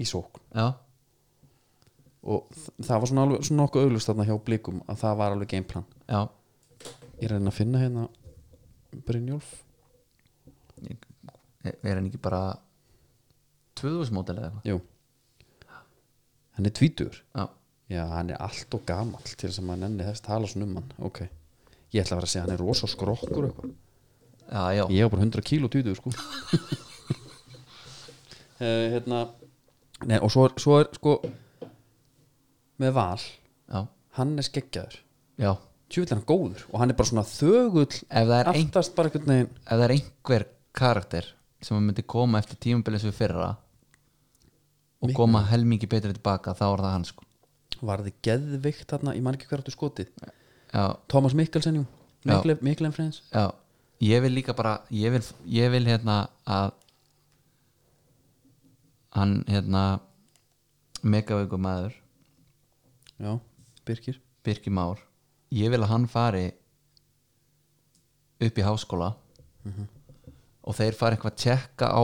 [SPEAKER 2] í sókn
[SPEAKER 3] já,
[SPEAKER 2] og þ- það var svona, alveg, svona nokkuð auglust þarna hjá blikum að það var alveg gameplan
[SPEAKER 3] já.
[SPEAKER 2] ég er að reyna að finna hérna Brynjólf
[SPEAKER 3] Er- er hann ekki bara 2000 mótel eða
[SPEAKER 2] jú hann er tvítur
[SPEAKER 3] eitthvað já,
[SPEAKER 2] Já, hann er allt og gamall til þess að maður nenni þess tala svona um hann ok, ég ætla að vera að segja hann er rosa skrokkur eitthvað,
[SPEAKER 3] já, já,
[SPEAKER 2] ég var bara 100 kíló týtuð sko uh, hérna nei, og svo er, svo er sko með val,
[SPEAKER 3] já,
[SPEAKER 2] hann er skeggjaður
[SPEAKER 3] já.
[SPEAKER 2] tjúvill er hann góður og hann er bara svona þögull
[SPEAKER 3] Ef, það er ein,
[SPEAKER 2] aftast bara einhvern veginn
[SPEAKER 3] ef það er einhver karakter sem myndi koma eftir tímabilið sem við fyrra og koma helmingi betri tilbaka þá er það hann sko
[SPEAKER 2] varði geðvikt þarna, ég man ekki hver áttu skotið
[SPEAKER 3] já,
[SPEAKER 2] Thomas Mikkelsen, jú,
[SPEAKER 3] Já.
[SPEAKER 2] Mikle, Miklen Freyns
[SPEAKER 3] já, ég vil líka bara ég vil, ég vil hérna að hann hérna megaveiku maður
[SPEAKER 2] já, Birkir
[SPEAKER 3] Birki Már ég vil að hann fari upp í háskóla og þeir fari eitthvað að tjekka á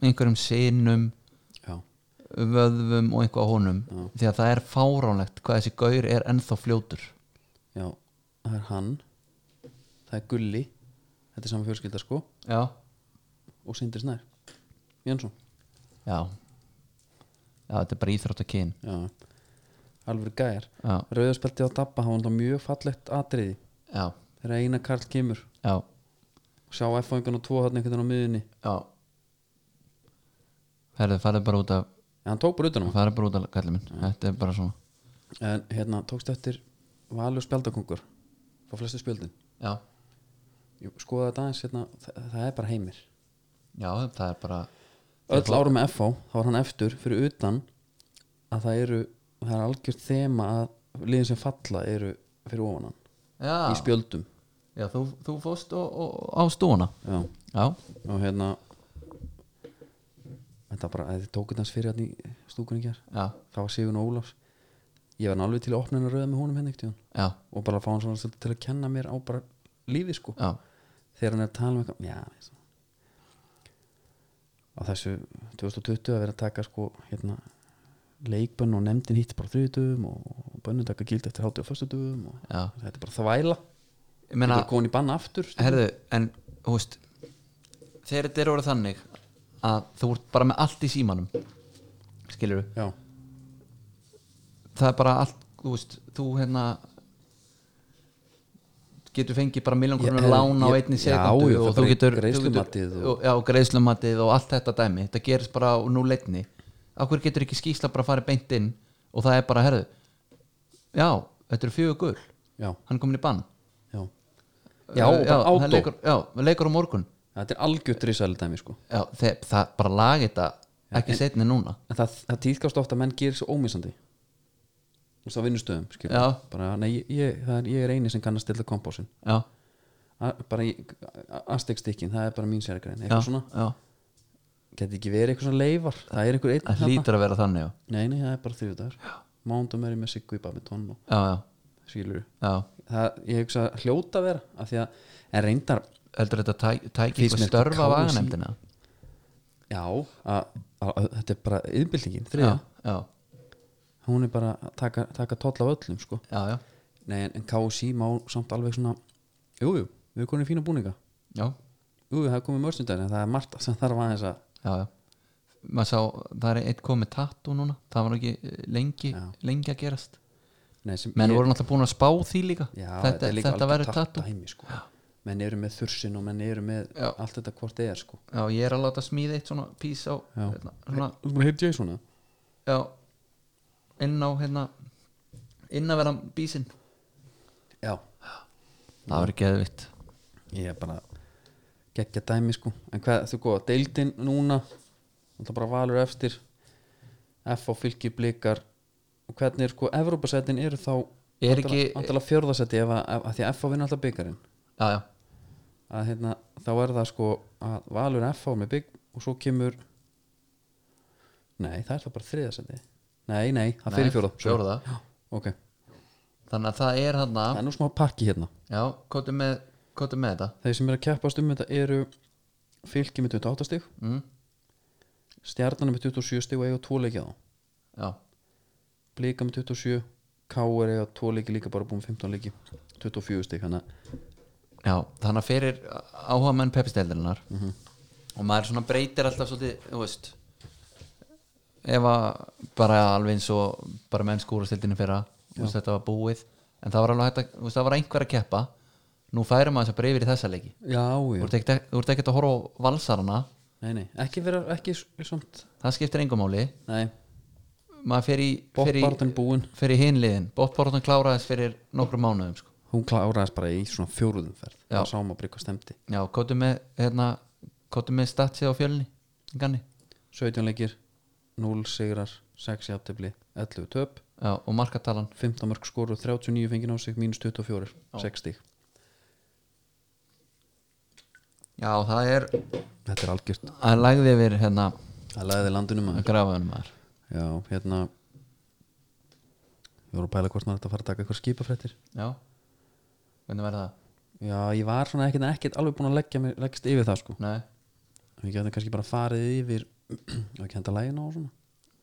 [SPEAKER 3] einhverjum sinum
[SPEAKER 2] já,
[SPEAKER 3] vöðvum og eitthvað á honum því að það er fáránlegt hvað þessi gaur er ennþá fljótur
[SPEAKER 2] Já, það er hann Það er Gulli Þetta er saman fjölskylda sko
[SPEAKER 3] já,
[SPEAKER 2] Og Sindri Snær Jönsson
[SPEAKER 3] já, já þetta er bara íþrótt að kyn
[SPEAKER 2] Já Alveg gæjar
[SPEAKER 3] já,
[SPEAKER 2] Rauðarspeltið á Dabba Það var náttúrulega mjög fallegt atriði
[SPEAKER 3] já,
[SPEAKER 2] Þegar eina Karl kemur
[SPEAKER 3] já,
[SPEAKER 2] Og sjá F-fóðingan og tvo hann einhvern veginn á miðunni
[SPEAKER 3] já. herðu, farðu bara út af
[SPEAKER 2] En hann tók bara utan á hann
[SPEAKER 3] farðu bara út af kallið minn, þetta er bara svona
[SPEAKER 2] En hérna tókst eftir Valur spjaldakongur Fá flestu spjöldin
[SPEAKER 3] já,
[SPEAKER 2] Jú, Skoða þetta aðeins hérna Það, það er bara heimir
[SPEAKER 3] já, það er bara
[SPEAKER 2] öll árum með FH þá var hann eftir fyrir utan að það eru það er algjört þema að liðin sem falla eru fyrir ofan hann í
[SPEAKER 3] já,
[SPEAKER 2] spjöldum
[SPEAKER 3] já þú, þú fóst og, og, á stúana
[SPEAKER 2] já.
[SPEAKER 3] já,
[SPEAKER 2] og hérna þetta bara, þið tókuð hans fyrir hann í stúkunni hér
[SPEAKER 3] já,
[SPEAKER 2] það var Sigurinn Ólafs ég var nú alveg til að opna hennar rauða með honum henni ekkert
[SPEAKER 3] já,
[SPEAKER 2] og bara fá hann svona svolítið til að kenna mér á bara lífi sko
[SPEAKER 3] já
[SPEAKER 2] þegar hann er að tala um eitthvað já, veist það. á þessu 2020 að vera að taka sko hérna leikbönn og nefndin hitt bara þriðutum og bönnum taka gild eftir hátu og föstutum og
[SPEAKER 3] Já.
[SPEAKER 2] þetta er bara þvæla
[SPEAKER 3] Ég
[SPEAKER 2] þetta
[SPEAKER 3] meina-
[SPEAKER 2] er komin í banna aftur sko. stundum.
[SPEAKER 3] Herðu, en þú veist þegar þetta er orðið þannig að þú ert bara með allt í símanum skilur við,
[SPEAKER 2] já,
[SPEAKER 3] það er bara allt þú veist, þú hérna getur fengið bara miljón
[SPEAKER 2] Ég-
[SPEAKER 3] krónur
[SPEAKER 2] herðu,
[SPEAKER 3] lán á
[SPEAKER 2] ég-
[SPEAKER 3] einni
[SPEAKER 2] já,
[SPEAKER 3] sekundu
[SPEAKER 2] ég
[SPEAKER 3] og
[SPEAKER 2] fer
[SPEAKER 3] þú
[SPEAKER 2] bara í
[SPEAKER 3] getur
[SPEAKER 2] greiðslumatið
[SPEAKER 3] þú getur-
[SPEAKER 2] og-
[SPEAKER 3] já, greiðslumatið og allt þetta dæmi þetta gerist bara á núleitni okkur getur ekki skýsla bara að fara beint inn og það er bara, herðu já, þetta eru fjögur gull,
[SPEAKER 2] já,
[SPEAKER 3] hann er komin í bann
[SPEAKER 2] já já, og bara
[SPEAKER 3] það
[SPEAKER 2] átó.
[SPEAKER 3] leikur, já, leikur á morgun
[SPEAKER 2] þetta er algjört risæli dæmi sko
[SPEAKER 3] Já, þe það bara lagi þetta ekki setni núna
[SPEAKER 2] en það, það týðkast ofta að menn gerir svo ómissandi þú veist á vinnustöðum skilur
[SPEAKER 3] Já.
[SPEAKER 2] bara, nei, ég, ég, það er, ég er eini sem kann að stilla kompásin
[SPEAKER 3] já,
[SPEAKER 2] bara aðstegstykkin, það er bara mín sérgrein
[SPEAKER 3] já,
[SPEAKER 2] eitthvað svona,
[SPEAKER 3] já
[SPEAKER 2] geti ekki verið eitthvað svona leifar það er einhver einn
[SPEAKER 3] það
[SPEAKER 2] þarna.
[SPEAKER 3] hlýtur að vera þannig já,
[SPEAKER 2] nei, nei, það er bara þriðudagur mándum er ég með Siggu í Babiton og
[SPEAKER 3] já, já,
[SPEAKER 2] skilur
[SPEAKER 3] já.
[SPEAKER 2] það, ég hugsa hljóta að vera af því að, en reyndar
[SPEAKER 3] heldur þetta tæ- tæki
[SPEAKER 2] Finnst
[SPEAKER 3] eitthvað
[SPEAKER 2] mér
[SPEAKER 3] störfa
[SPEAKER 2] KSÍ.
[SPEAKER 3] vaganefndina
[SPEAKER 2] já, að, að, þetta er bara yðbildingin,
[SPEAKER 3] já,
[SPEAKER 2] þriða,
[SPEAKER 3] já,
[SPEAKER 2] hún er bara að taka, taka toll af öllum, sko
[SPEAKER 3] já, já,
[SPEAKER 2] nei, en, en KSI má samt alveg svona jú, jú, við erum konið fína búninga
[SPEAKER 3] já,
[SPEAKER 2] jú, jú, það er komið mörstundar en það er margt sem þarf aðeins að
[SPEAKER 3] já, já. maður sá, það er eitt komið tattu núna, það var nú ekki eh, lengi,
[SPEAKER 2] Já.
[SPEAKER 3] lengi að gerast
[SPEAKER 2] nei, sem
[SPEAKER 3] menn
[SPEAKER 2] ég-
[SPEAKER 3] voru náttúrulega búin að spá því líka
[SPEAKER 2] já,
[SPEAKER 3] þetta,
[SPEAKER 2] er líka
[SPEAKER 3] þetta
[SPEAKER 2] algjört
[SPEAKER 3] verður
[SPEAKER 2] tatt
[SPEAKER 3] tattu
[SPEAKER 2] dæmi, sko. menn eru með þursin og menn eru með
[SPEAKER 3] Já.
[SPEAKER 2] allt þetta hvort eða sko.
[SPEAKER 3] já, ég er að láta smíða eitt svona pís á
[SPEAKER 2] Já.
[SPEAKER 3] hérna, svona,
[SPEAKER 2] þú hefði ég svona
[SPEAKER 3] já inn á hérna inn að vera bísinn
[SPEAKER 2] já,
[SPEAKER 3] það verður geðvitt
[SPEAKER 2] ég er bara geggja dæmi sko en hvað, þú góða, deildin núna það bara valur efstir F á fylki blikar og hvernig er sko, Evrópasætin eru þá
[SPEAKER 3] Er ekki-
[SPEAKER 2] andala fjörðasæti ef að, ef, að því að F á vinna alltaf byggarinn
[SPEAKER 3] já, já,
[SPEAKER 2] að hérna, þá er það sko að Valur FH með bygg og svo kemur nei, það er það bara þriðasendi nei, nei, það
[SPEAKER 3] Nei,
[SPEAKER 2] fyrir Mm. fjóra
[SPEAKER 3] fjórða.
[SPEAKER 2] ok,
[SPEAKER 3] þannig að það er hérna
[SPEAKER 2] það er nú smá pakki hérna
[SPEAKER 3] já, kóttu með, kóttu með þetta
[SPEAKER 2] þeir sem eru að keppast um þetta eru fylki með 28 stig
[SPEAKER 3] mm,
[SPEAKER 2] stjarnan með 27 stig og eiga tvo leiki á
[SPEAKER 3] já,
[SPEAKER 2] blika með 27 káur eiga tvo leiki líka bara búin 15 leiki 24 stig, þannig að
[SPEAKER 3] já, þannig að fyrir áhuga menn peppisteldirinnar
[SPEAKER 2] Mhm.
[SPEAKER 3] og maður svona breytir alltaf svolítið, þú veist ef að bara alveg eins og bara menn skúrastildinu fyrra þú veist, þetta var búið en það var alveg hægt að, þú veist, það var einhver að keppa nú færum maður þess að yfir í þessa leiki
[SPEAKER 2] já,
[SPEAKER 3] þú
[SPEAKER 2] já,
[SPEAKER 3] ert ekkert- þú ert ekkert að horfa á valsarana
[SPEAKER 2] nei, nei ekki vera, ekki s- samt
[SPEAKER 3] það skiptir engum máli
[SPEAKER 2] nei,
[SPEAKER 3] maður fer í, fer í,
[SPEAKER 2] bóttbartan búin
[SPEAKER 3] fer í hinliðin bóttbáratan kláraðist fyrir nokkrum mánuðum sko.
[SPEAKER 2] hún kláraðist bara í svona fjóruðumferð
[SPEAKER 3] Já.
[SPEAKER 2] það sá maður bara hvað stemdi
[SPEAKER 3] já, kóttu með hérna, kóttu með statsið á fjölni ganni,
[SPEAKER 2] 17 leikir, 0 sigrar 6 jafntefli, 11 töp
[SPEAKER 3] já, og markatalan
[SPEAKER 2] 15 mörg skoru, 39 fengið á sig mínus 24, 6 stík
[SPEAKER 3] já, það er
[SPEAKER 2] þetta er algjört,
[SPEAKER 3] að lagði yfir hérna
[SPEAKER 2] það laðiði landinu maður
[SPEAKER 3] grafaðunum maður
[SPEAKER 2] já, hérna ég voru að pæla hvort maður þetta fara að taka eitthvað skipafrættir
[SPEAKER 3] já, hvernig verður það?
[SPEAKER 2] já, ég var svona ekkert, ekkert alveg búin að leggja mig, leggst yfir það sko
[SPEAKER 3] nei,
[SPEAKER 2] ég gæti kannski bara farið yfir og ekki henda lægina og svona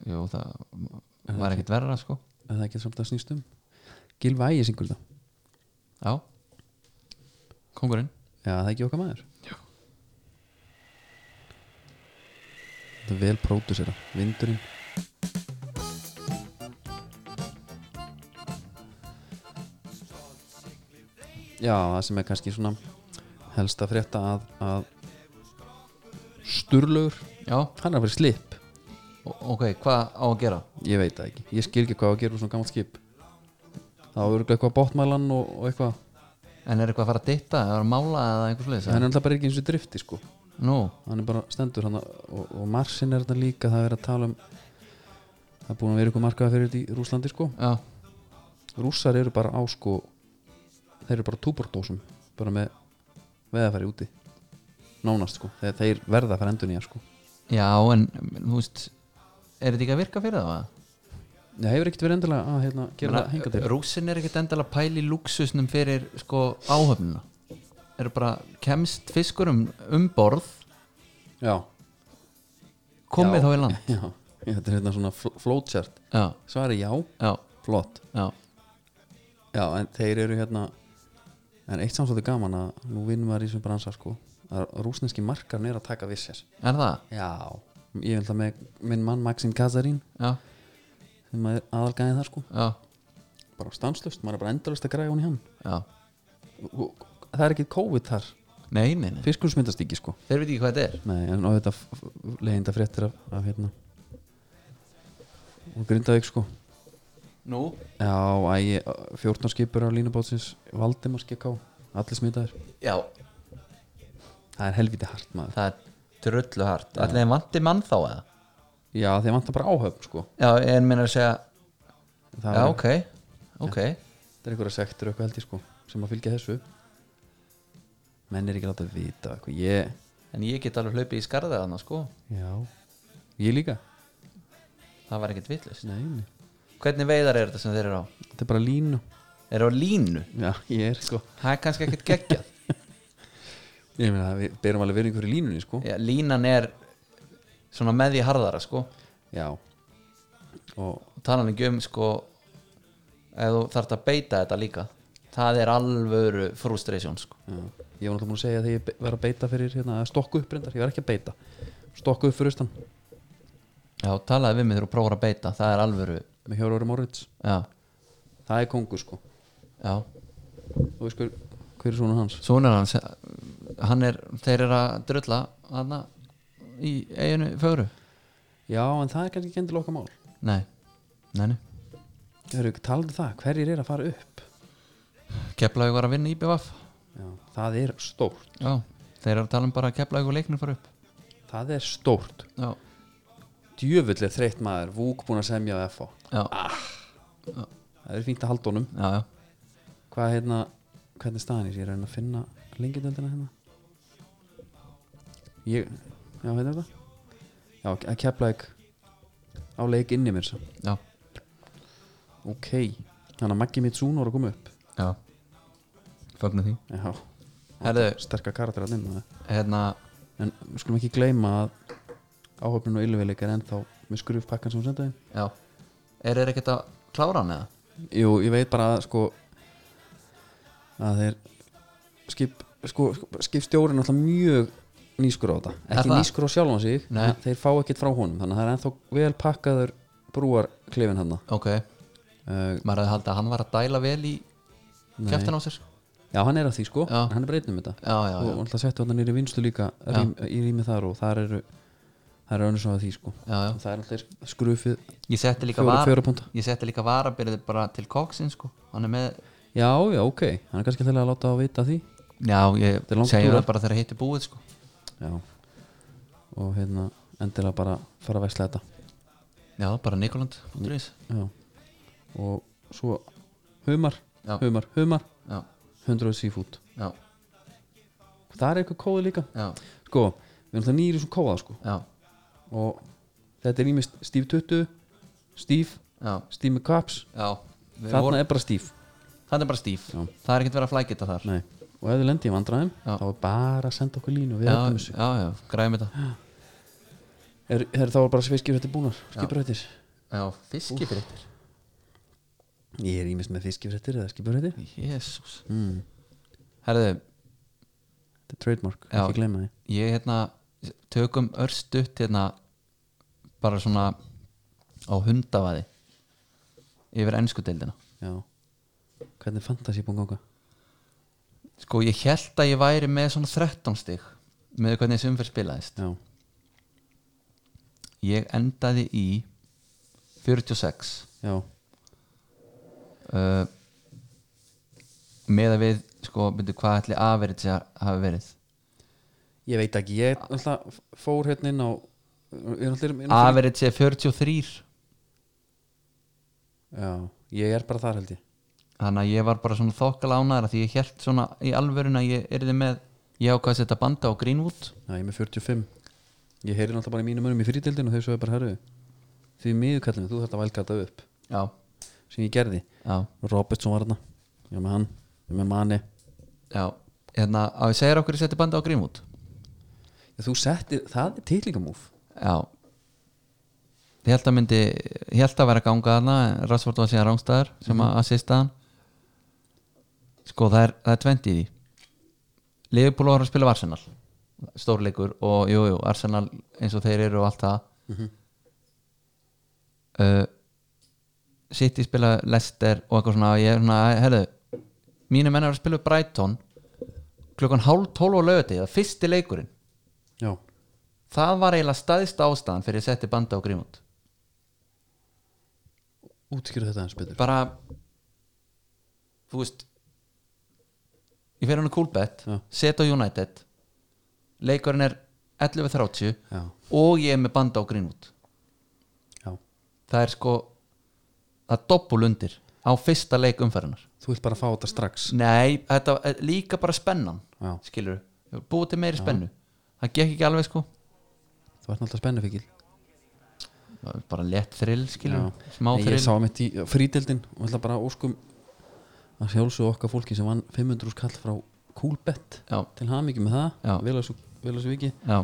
[SPEAKER 3] jú, það var ekkert verra sko
[SPEAKER 2] en það er ekki samt að snýst um Gilva Ægir syngur það
[SPEAKER 3] já, kongurinn
[SPEAKER 2] Já, það er ekki okkar maður Já Þetta er vel pródusera Vindurinn Já, það sem er kannski svona helst að frétta að, að Sturlaugur
[SPEAKER 3] já,
[SPEAKER 2] Hann er að vera slip
[SPEAKER 3] o- ok, hvað á að gera?
[SPEAKER 2] Ég veit það ekki, ég skil ekki hvað á að gera úr svona gammalt skip Það var örugglega eitthvað bóttmælan og, og eitthvað
[SPEAKER 3] en er eitthvað að fara að ditta, eða að mála eða einhver sliðis?
[SPEAKER 2] Hann er alltaf bara ekki eins og í drifti sko
[SPEAKER 3] nú,
[SPEAKER 2] hann er bara stendur hann og, og marsin er þetta líka það er að tala um það er búin að vera ykkur markaða fyrir þetta í Rúslandi sko
[SPEAKER 3] já
[SPEAKER 2] rússar eru bara á sko þeir eru bara túbordósum bara með veðafæri úti nánast sko, þeir, þeir verða að fara endur nýja sko
[SPEAKER 3] Já, en þú veist er þetta ekki að virka fyrir það? va?
[SPEAKER 2] það hefur ekkert verið endilega að hérna, gera það henga til
[SPEAKER 3] Rússin er ekkert endala pæli luxusnum fyrir sko áhöfnuna er bara kemst fiskur um, um borð
[SPEAKER 2] já,
[SPEAKER 3] komið
[SPEAKER 2] Já.
[SPEAKER 3] þá í land
[SPEAKER 2] já, þetta er hérna svona fl- flowchart
[SPEAKER 3] Já,
[SPEAKER 2] svari já,
[SPEAKER 3] já,
[SPEAKER 2] flott
[SPEAKER 3] já,
[SPEAKER 2] já, en þeir eru hérna en eitt samsóttu gaman að nú vinnum við að rísum bransa sko að rúsneski markarn er að taka við sér
[SPEAKER 3] er það?
[SPEAKER 2] Já, ég vil það með minn mann Maxim Kazarín
[SPEAKER 3] Já,
[SPEAKER 2] sem er aðalgæðið það sko
[SPEAKER 3] já,
[SPEAKER 2] bara stanslust, maður er bara endalust að græja hún í hann
[SPEAKER 3] já
[SPEAKER 2] Og- og- það er ekki COVID þar
[SPEAKER 3] Nei, nei, nei,
[SPEAKER 2] fiskur smittast ekki sko
[SPEAKER 3] þeir veit ekki hvað þetta er
[SPEAKER 2] Nei, en á þetta leiðinda fréttir af, af hérna og grindaðið sko
[SPEAKER 3] Nú?
[SPEAKER 2] Já, æ, 14 skipur á línubátsins Valdimar skikká, allir smitaðir
[SPEAKER 3] Já,
[SPEAKER 2] Það er helviti hart maður
[SPEAKER 3] það er trullu hart Ætli þeim vanti mann þá eða?
[SPEAKER 2] Já, þeir vantar bara áhöfn sko
[SPEAKER 3] Já, en minna að segja
[SPEAKER 2] það
[SPEAKER 3] já,
[SPEAKER 2] var-
[SPEAKER 3] ok, ok
[SPEAKER 2] Það er einhverja sektur og eitthvað held ég sko sem að fylgja þessu menn er ekki láta að vita eitthvað ég,
[SPEAKER 3] en ég get alveg hlaupið í skarðið hann sko
[SPEAKER 2] já ég líka,
[SPEAKER 3] það var ekkert vitlust
[SPEAKER 2] nei, nei
[SPEAKER 3] hvernig veiðar er þetta sem þeir eru á?
[SPEAKER 2] þetta er bara línu,
[SPEAKER 3] þeir eru á línu,
[SPEAKER 2] já ég er sko
[SPEAKER 3] það er kannski ekkert geggjað
[SPEAKER 2] ég meina að við berum alveg verið einhverju línunni sko
[SPEAKER 3] Já, línan er svona með því harðara sko
[SPEAKER 2] já og
[SPEAKER 3] og talan ekki um sko ef þú þarft að beita þetta líka það er alvöru frustration sko
[SPEAKER 2] já. ég var náttúrulega búin að segja þegar ég be- var að beita fyrir hérna, stokku upp reyndar, ég var ekki að beita stokku upp fyrir ustan
[SPEAKER 3] já, talaði við mig þegar þú prófar að beita það er alvöru,
[SPEAKER 2] með Hjóróri Moritz,
[SPEAKER 3] já,
[SPEAKER 2] það er kongur sko
[SPEAKER 3] já
[SPEAKER 2] þú veist hver, hver er svona hans
[SPEAKER 3] sonar hans, hann er þeir eru að drulla hana, í eiginu fögru
[SPEAKER 2] já en það er kannski ekki endur okkar mál
[SPEAKER 3] nei, nei, nei
[SPEAKER 2] Hörru, talaðu það, hverjir er að fara upp
[SPEAKER 3] Keflavík var að vinna í BVF
[SPEAKER 2] já, það er stórt
[SPEAKER 3] já, þeir eru að tala um bara að Keflavík og leiknir fara upp
[SPEAKER 2] Það er stórt
[SPEAKER 3] já,
[SPEAKER 2] Djöfull er þreytt maður, vúk búin að semja á FH
[SPEAKER 3] já,
[SPEAKER 2] Það er fínt að halda honum
[SPEAKER 3] já, já.
[SPEAKER 2] Hvað hérna, hvernig er staðan í sér? Ég er að reyna að finna lengindöldina hérna Ég, já, hérna er þetta Já, að kepla ekki á leik inni mér svo
[SPEAKER 3] já.
[SPEAKER 2] Ok, þannig að Maggi mitt súnur að koma upp
[SPEAKER 3] Já Fögnu því
[SPEAKER 2] Já,
[SPEAKER 3] Herðu,
[SPEAKER 2] sterka karakter að nynna það
[SPEAKER 3] hérna
[SPEAKER 2] En við skulum ekki gleyma að áhöfnun og ylveik er ennþá með skrufpakkan sem hún sendaði
[SPEAKER 3] Já Er þeir ekkert að klára hann eða?
[SPEAKER 2] Jú, ég veit bara að sko að þeir skip, sko, skip stjórin alltaf mjög nýskur á þetta
[SPEAKER 3] Er
[SPEAKER 2] ekki
[SPEAKER 3] það?
[SPEAKER 2] nýskur á sjálfan sig
[SPEAKER 3] Nei.
[SPEAKER 2] en þeir fá ekkert frá honum þannig að það er ennþá vel pakkaður brúar klefin hann
[SPEAKER 3] Ok
[SPEAKER 2] uh,
[SPEAKER 3] Maður hefði haldið að hann var að dæla vel í
[SPEAKER 2] Nei.
[SPEAKER 3] kæftin á sér
[SPEAKER 2] já, hann er að því sko,
[SPEAKER 3] Já.
[SPEAKER 2] en hann er breytnum þetta
[SPEAKER 3] Já, já,
[SPEAKER 2] og
[SPEAKER 3] já,
[SPEAKER 2] alltaf settu hann nýri vinstu líka rým, í rými þar og þar eru það eru önnur svo að því sko
[SPEAKER 3] já, já.
[SPEAKER 2] og það er alltaf skrufið
[SPEAKER 3] Ég setti líka
[SPEAKER 2] Fjóra-
[SPEAKER 3] var
[SPEAKER 2] fjóra punkta.
[SPEAKER 3] Ég setti líka varabyrði bara til koksin sko Hann er með
[SPEAKER 2] já, já, ok, hann er kannski þegar að láta á vita af því
[SPEAKER 3] Já, ég
[SPEAKER 2] er langt
[SPEAKER 3] segi
[SPEAKER 2] túra.
[SPEAKER 3] það bara þegar hitti búið sko
[SPEAKER 2] já og hérna endilega bara fara að vesla þetta
[SPEAKER 3] Já, bara Nikoland Fúndurís
[SPEAKER 2] Já. og svo humar,
[SPEAKER 3] Já.
[SPEAKER 2] humar, humar
[SPEAKER 3] Já,
[SPEAKER 2] 100 seafood
[SPEAKER 3] já,
[SPEAKER 2] það er eitthvað kóði líka
[SPEAKER 3] já,
[SPEAKER 2] sko, við erum alltaf nýri svo kóða sko.
[SPEAKER 3] já,
[SPEAKER 2] og þetta er ímest stíf 20 stíf,
[SPEAKER 3] já,
[SPEAKER 2] stíf með kaps
[SPEAKER 3] já. Við
[SPEAKER 2] þarna
[SPEAKER 3] vorum-
[SPEAKER 2] er bara stíf
[SPEAKER 3] Þarna er bara stíf
[SPEAKER 2] Já.
[SPEAKER 3] Það er ekkert verið að flækita þar
[SPEAKER 2] Nei. og ef þið lendi í vandræðum
[SPEAKER 3] Já.
[SPEAKER 2] þá er bara að senda okkur línu og við
[SPEAKER 3] Já,
[SPEAKER 2] erum þessu
[SPEAKER 3] já, já, græðum þetta
[SPEAKER 2] er, er, þá er bara sveiskir þetta búnar, skipur
[SPEAKER 3] Já, fiskifréttir
[SPEAKER 2] ég er ímest með fiskifrættir eða skipur þetta
[SPEAKER 3] Jésús
[SPEAKER 2] mm.
[SPEAKER 3] Herðu,
[SPEAKER 2] þetta er trademark,
[SPEAKER 3] Já.
[SPEAKER 2] ekki gleyma því
[SPEAKER 3] ég hérna tökum örstutt hérna bara svona á hundavaði yfir ennsku deildina
[SPEAKER 2] já. hvernig fantasy búin ganga
[SPEAKER 3] sko ég held að ég væri með svona 13 stig með hvernig þessi umferð spilaðist
[SPEAKER 2] já,
[SPEAKER 3] ég endaði í 46
[SPEAKER 2] já,
[SPEAKER 3] uh, með að við sko, byrju, hvað ætli aðverið sem hafi verið
[SPEAKER 2] Ég veit ekki, ég alltaf fór hérna inn á ég er alltaf inn á
[SPEAKER 3] aðverið sem 43
[SPEAKER 2] Já, ég er bara þar held ég
[SPEAKER 3] þannig að ég var bara svona þokkala ánæður því ég held svona í alvörun að ég erði með ég ákvað að setja banda á Greenwood
[SPEAKER 2] Já, ég er með 45 Ég heyri alltaf bara í mínum önum í frídeldin og þau svo er bara herru Því miður kallinu, þú þarft að vælkata upp
[SPEAKER 3] já,
[SPEAKER 2] sem ég gerði,
[SPEAKER 3] já,
[SPEAKER 2] Robertson var hérna Ég var með hann, ég var með manni
[SPEAKER 3] já hérna, á ég segir okkur að setja banda á Greenwood
[SPEAKER 2] Þú settir, það er titlingamúf
[SPEAKER 3] já ég held að myndi, ég held að vera að ganga þarna Rassvort var síðan rángstæðar sem að assista hann sko það er, það er 20 í því Liverpool var að spila við Arsenal stórleikur og jú, jú, Arsenal eins og þeir eru og allt það uh, City spila Leicester og eitthvað svona ég er svona, herðu, mínu menn er að spila við Brighton klukkan hálf tólf á lögati, það er fyrsti leikurinn
[SPEAKER 2] Já,
[SPEAKER 3] það var eiginlega staðist ástæðan fyrir að setja banda á grímund
[SPEAKER 2] útskýrðu þetta eins betur
[SPEAKER 3] bara þú veist ég fer hann að kúlbett
[SPEAKER 2] Já.
[SPEAKER 3] set á United leikurinn er 11.30
[SPEAKER 2] Já,
[SPEAKER 3] og ég er með banda á grímund
[SPEAKER 2] já,
[SPEAKER 3] það er sko það er doppul undir á fyrsta leik umferðinar
[SPEAKER 2] þú vilt bara fá þetta strax
[SPEAKER 3] nei, þetta er líka bara spennan
[SPEAKER 2] Já.
[SPEAKER 3] skilur, búið til meiri spennu það gekk ekki alveg sko
[SPEAKER 2] þú ert náttúrulega spennufíkil
[SPEAKER 3] Það var bara létt þrill skilur, smá
[SPEAKER 2] Nei,
[SPEAKER 3] þrill
[SPEAKER 2] ég sá mitt í frídeldin og ætla bara að óskum að sjálfsög okkar fólki sem vann 500 skall frá Coolbet
[SPEAKER 3] já,
[SPEAKER 2] til hamingjum með
[SPEAKER 3] Já.
[SPEAKER 2] það Vilasvíki
[SPEAKER 3] já,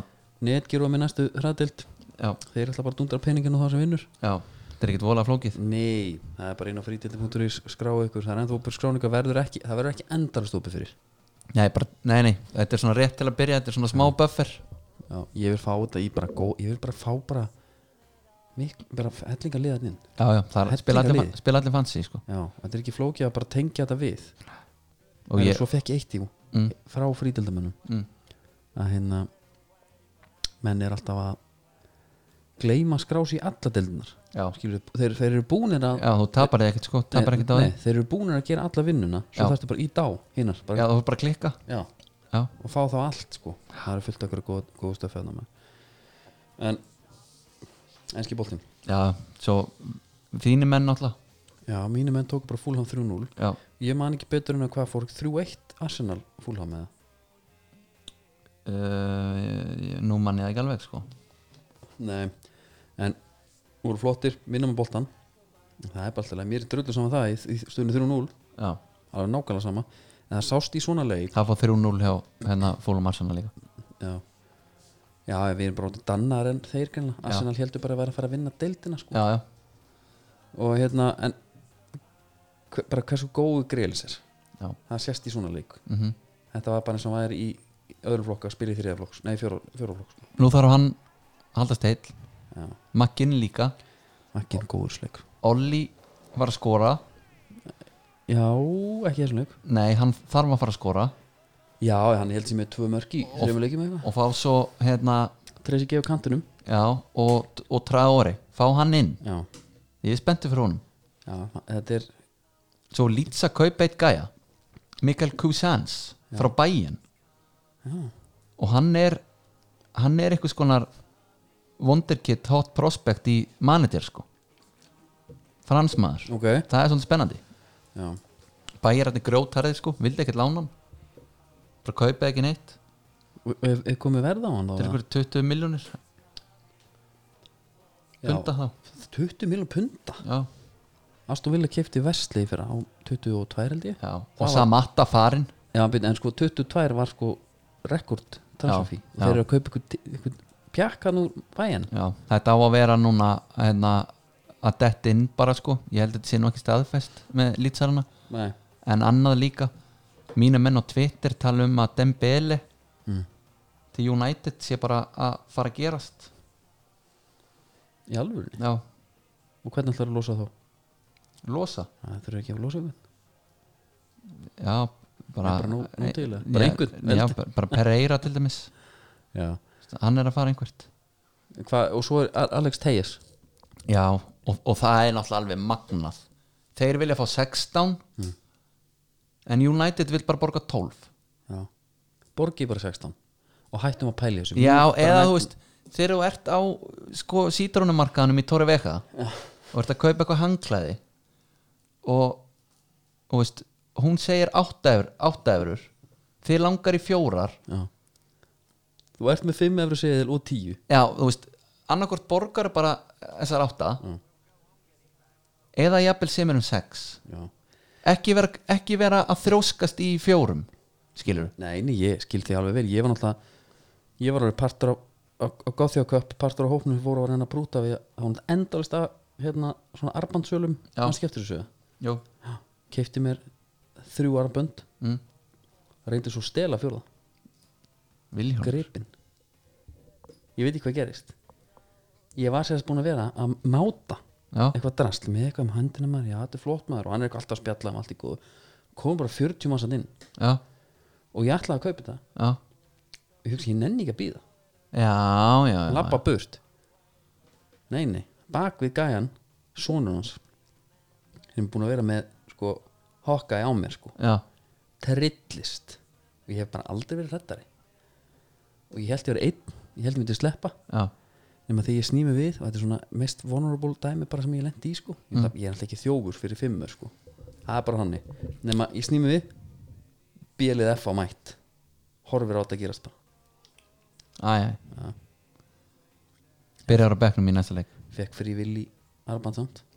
[SPEAKER 2] Netgeru að með næstu hraðdeild
[SPEAKER 3] já,
[SPEAKER 2] þeir ætla bara að dundra peninginu það sem vinnur
[SPEAKER 3] já þetta er ekkert vola flókið
[SPEAKER 2] Nei, það er bara inn á frídeldin.is skráa ykkur, það er ennþá opið skráninga verður ekki það verður ekki endalast opið fyrir
[SPEAKER 3] nei, bara, nei, nei, þetta er svona rétt til að byrja þetta er svona smá buffer
[SPEAKER 2] Já, ég vil fá þetta í bara góð ég vil bara fá bara mik- bara hellinga liðaninn
[SPEAKER 3] já, já, það er,
[SPEAKER 2] Hellingar
[SPEAKER 3] spila allir,
[SPEAKER 2] liði.
[SPEAKER 3] spila allir fancy sko.
[SPEAKER 2] Já, þetta er ekki flókið að bara tengja þetta við
[SPEAKER 3] og
[SPEAKER 2] en
[SPEAKER 3] ég,
[SPEAKER 2] svo fekk ég eitt í
[SPEAKER 3] mm,
[SPEAKER 2] frá frídeldamönnum
[SPEAKER 3] mm,
[SPEAKER 2] að hérna menn er alltaf að gleyma að skrá sig í alla deildunar
[SPEAKER 3] já,
[SPEAKER 2] Skilur, þeir, þeir eru búnir að
[SPEAKER 3] já, þú tapar þig ekkert sko tapar ekkert á
[SPEAKER 2] nei,
[SPEAKER 3] þig,
[SPEAKER 2] þeir eru búnir að gera alla vinnuna svo
[SPEAKER 3] Já.
[SPEAKER 2] þarftu bara í dá hinnar
[SPEAKER 3] já,
[SPEAKER 2] bara,
[SPEAKER 3] þú bara klikka
[SPEAKER 2] já,
[SPEAKER 3] já,
[SPEAKER 2] og fá þá allt sko það eru fullt okkur góð, góð stöfið en enski boltinn
[SPEAKER 3] já, svo þínir menn náttúrulega
[SPEAKER 2] já, mínu menn tók bara fúlham 3-0
[SPEAKER 3] já,
[SPEAKER 2] ég man ekki betur en að hvað fór 3-1 Arsenal fúlham með
[SPEAKER 3] uh, nú mann ég það ekki alveg sko
[SPEAKER 2] það nei, en voru flottir, minnum að boltan það er bara alltaf, mér er drullu saman það í, í stöðunni 3-0
[SPEAKER 3] já,
[SPEAKER 2] alveg nákvæmlega sama en það sást í svona leik
[SPEAKER 3] það fór 3-0 hjá hérna fólum Arsana líka
[SPEAKER 2] já, já við erum bara orðin dannar en þeir kannar Arsenal heldur bara að vera að fara að vinna deildina sko.
[SPEAKER 3] já, já,
[SPEAKER 2] og hérna en hver, bara hversu góðu greilis er
[SPEAKER 3] já,
[SPEAKER 2] það sést í svona leik
[SPEAKER 3] mhm
[SPEAKER 2] þetta var bara eins og maður í öðrum flokka að spila í þriðaflokks, nei fjóra- fjóraflokks sko.
[SPEAKER 3] nú þarf hann að haldast heill
[SPEAKER 2] já,
[SPEAKER 3] Magginn líka,
[SPEAKER 2] ekki en góður sleik
[SPEAKER 3] Olli var að skora
[SPEAKER 2] já, ekki þessum leik
[SPEAKER 3] nei, hann þarf að fara að skora
[SPEAKER 2] já, hann held sér með tvö mörg í þreifum leikjum eitthvað,
[SPEAKER 3] og fá svo hérna,
[SPEAKER 2] treysi gefa kantinum
[SPEAKER 3] já, og, og Traore fá hann inn,
[SPEAKER 2] já,
[SPEAKER 3] ég er spenntur fyrir honum
[SPEAKER 2] já, þetta er
[SPEAKER 3] svo Litsa kaupa eitt gæja Mikael Cousins frá bæin og hann er hann er eitthvað skonar wonderkid hot prospect í manager sko fransmaður,
[SPEAKER 2] ok,
[SPEAKER 3] það er svolítið spennandi
[SPEAKER 2] já,
[SPEAKER 3] bæir hann er grjótarðið sko, vildi ekkert lána hann bara kaupa ekki neitt
[SPEAKER 2] Og- og er er komið verð á hann þá
[SPEAKER 3] til
[SPEAKER 2] eða?
[SPEAKER 3] ykkur 20 miljónir
[SPEAKER 2] Já.
[SPEAKER 3] funda þá
[SPEAKER 2] 20 miljón punta
[SPEAKER 3] já,
[SPEAKER 2] Aston Villa kefti Vestley fyrir á 22 held ég
[SPEAKER 3] já.
[SPEAKER 2] Það
[SPEAKER 3] og
[SPEAKER 2] var-
[SPEAKER 3] Samatta farinn
[SPEAKER 2] Já, byrja, en sko 22 var sko rekord transferfí
[SPEAKER 3] Já,
[SPEAKER 2] og þeir
[SPEAKER 3] já.
[SPEAKER 2] eru að kaupa ykkur, ykkur pjakkan úr bæjan
[SPEAKER 3] Já, þetta á að vera núna hérna, að detta inn bara sko ég held að þetta sé nú ekki staðfest með lýtsarana
[SPEAKER 2] Nei.
[SPEAKER 3] en annað líka mínu menn á Twitter tala um að Dembele
[SPEAKER 2] Mm.
[SPEAKER 3] til United sé bara að fara að gerast
[SPEAKER 2] Í alvörinni,
[SPEAKER 3] já,
[SPEAKER 2] og hvernig ætlar að losa þá?
[SPEAKER 3] losa
[SPEAKER 2] Það þurfa ekki að losa ykkur
[SPEAKER 3] já, bara,
[SPEAKER 2] Bara nú- nú til, eða? Bara
[SPEAKER 3] Já,
[SPEAKER 2] einhvern,
[SPEAKER 3] já,
[SPEAKER 2] veldi.
[SPEAKER 3] bara- bara Pereira til dæmis
[SPEAKER 2] Já
[SPEAKER 3] hann er að fara einhvert
[SPEAKER 2] Hva, Og svo er A- Alex Tejas
[SPEAKER 3] já, og, og það er náttúrulega alveg magnað þeir vilja fá 16
[SPEAKER 2] Mm.
[SPEAKER 3] en United vil bara borga 12
[SPEAKER 2] Já Borgi bara 16 og hættum að pæli þessu
[SPEAKER 3] Já,
[SPEAKER 2] Bara
[SPEAKER 3] eða
[SPEAKER 2] næ-
[SPEAKER 3] þú veist þegar þú ert á sko, sítrónumarkaðanum í Tóri Veka og ert að kaupa eitthvað hangklæði og þú veist, hún segir áttæfur, áttæfurur þið langar í fjórar
[SPEAKER 2] Já Þú ert með 5 efru seðil og 10
[SPEAKER 3] já, þú veist, annarkvort borgar bara þessar átta
[SPEAKER 2] Mm.
[SPEAKER 3] eða jafnvel sem er um sex
[SPEAKER 2] Já
[SPEAKER 3] ekki vera, ekki vera að þróskast í fjórum skilur
[SPEAKER 2] Nei, nei, ég skil þig alveg vel Ég var náttúrulega Ég var alveg partur á að gáð því að köp partur á hópnum sem voru að reyna að brúta við þá hann endalist að hérna svona um arbandsölum
[SPEAKER 3] Já.
[SPEAKER 2] hans skeftur þessu
[SPEAKER 3] Jú.
[SPEAKER 2] keipti mér þrjú arbönd
[SPEAKER 3] Mm.
[SPEAKER 2] reyndi svo að stela fjórða
[SPEAKER 3] Vilhjálmur
[SPEAKER 2] gripin ég veit ekki hvað gerist ég var sérst búin að vera að máta
[SPEAKER 3] Já.
[SPEAKER 2] eitthvað drasl með eitthvað um höndina maður já þetta er flott maður og hann er eitthvað alltaf að spjalla um allt í góðu kom bara 40 mannsand inn
[SPEAKER 3] já,
[SPEAKER 2] og ég ætlaði að kaupa þetta
[SPEAKER 3] já,
[SPEAKER 2] ég hugsa ég nenni ekki að býða
[SPEAKER 3] já, já, já.
[SPEAKER 2] labba burt nei nei, bak við gæjan sonur hans sem er búin að vera með sko hokka á mér sko,
[SPEAKER 3] já.
[SPEAKER 2] trillist og ég hef bara aldrei verið hrættari og ég held ég verið einn ég held ég myndi sleppa,
[SPEAKER 3] já.
[SPEAKER 2] nema þegar ég snými við og þetta er svona mest vulnerable dæmi bara sem ég lendi í sko ég, mm. ég er alltaf ekki þjófur fyrir fimmur sko það er bara hannig, nema ég snými við bílið F á mætt horfir á þetta að gerast bara
[SPEAKER 3] Æ, æ. Byrjar á bekknum í næsta leik
[SPEAKER 2] fekk frí villi armband samt frí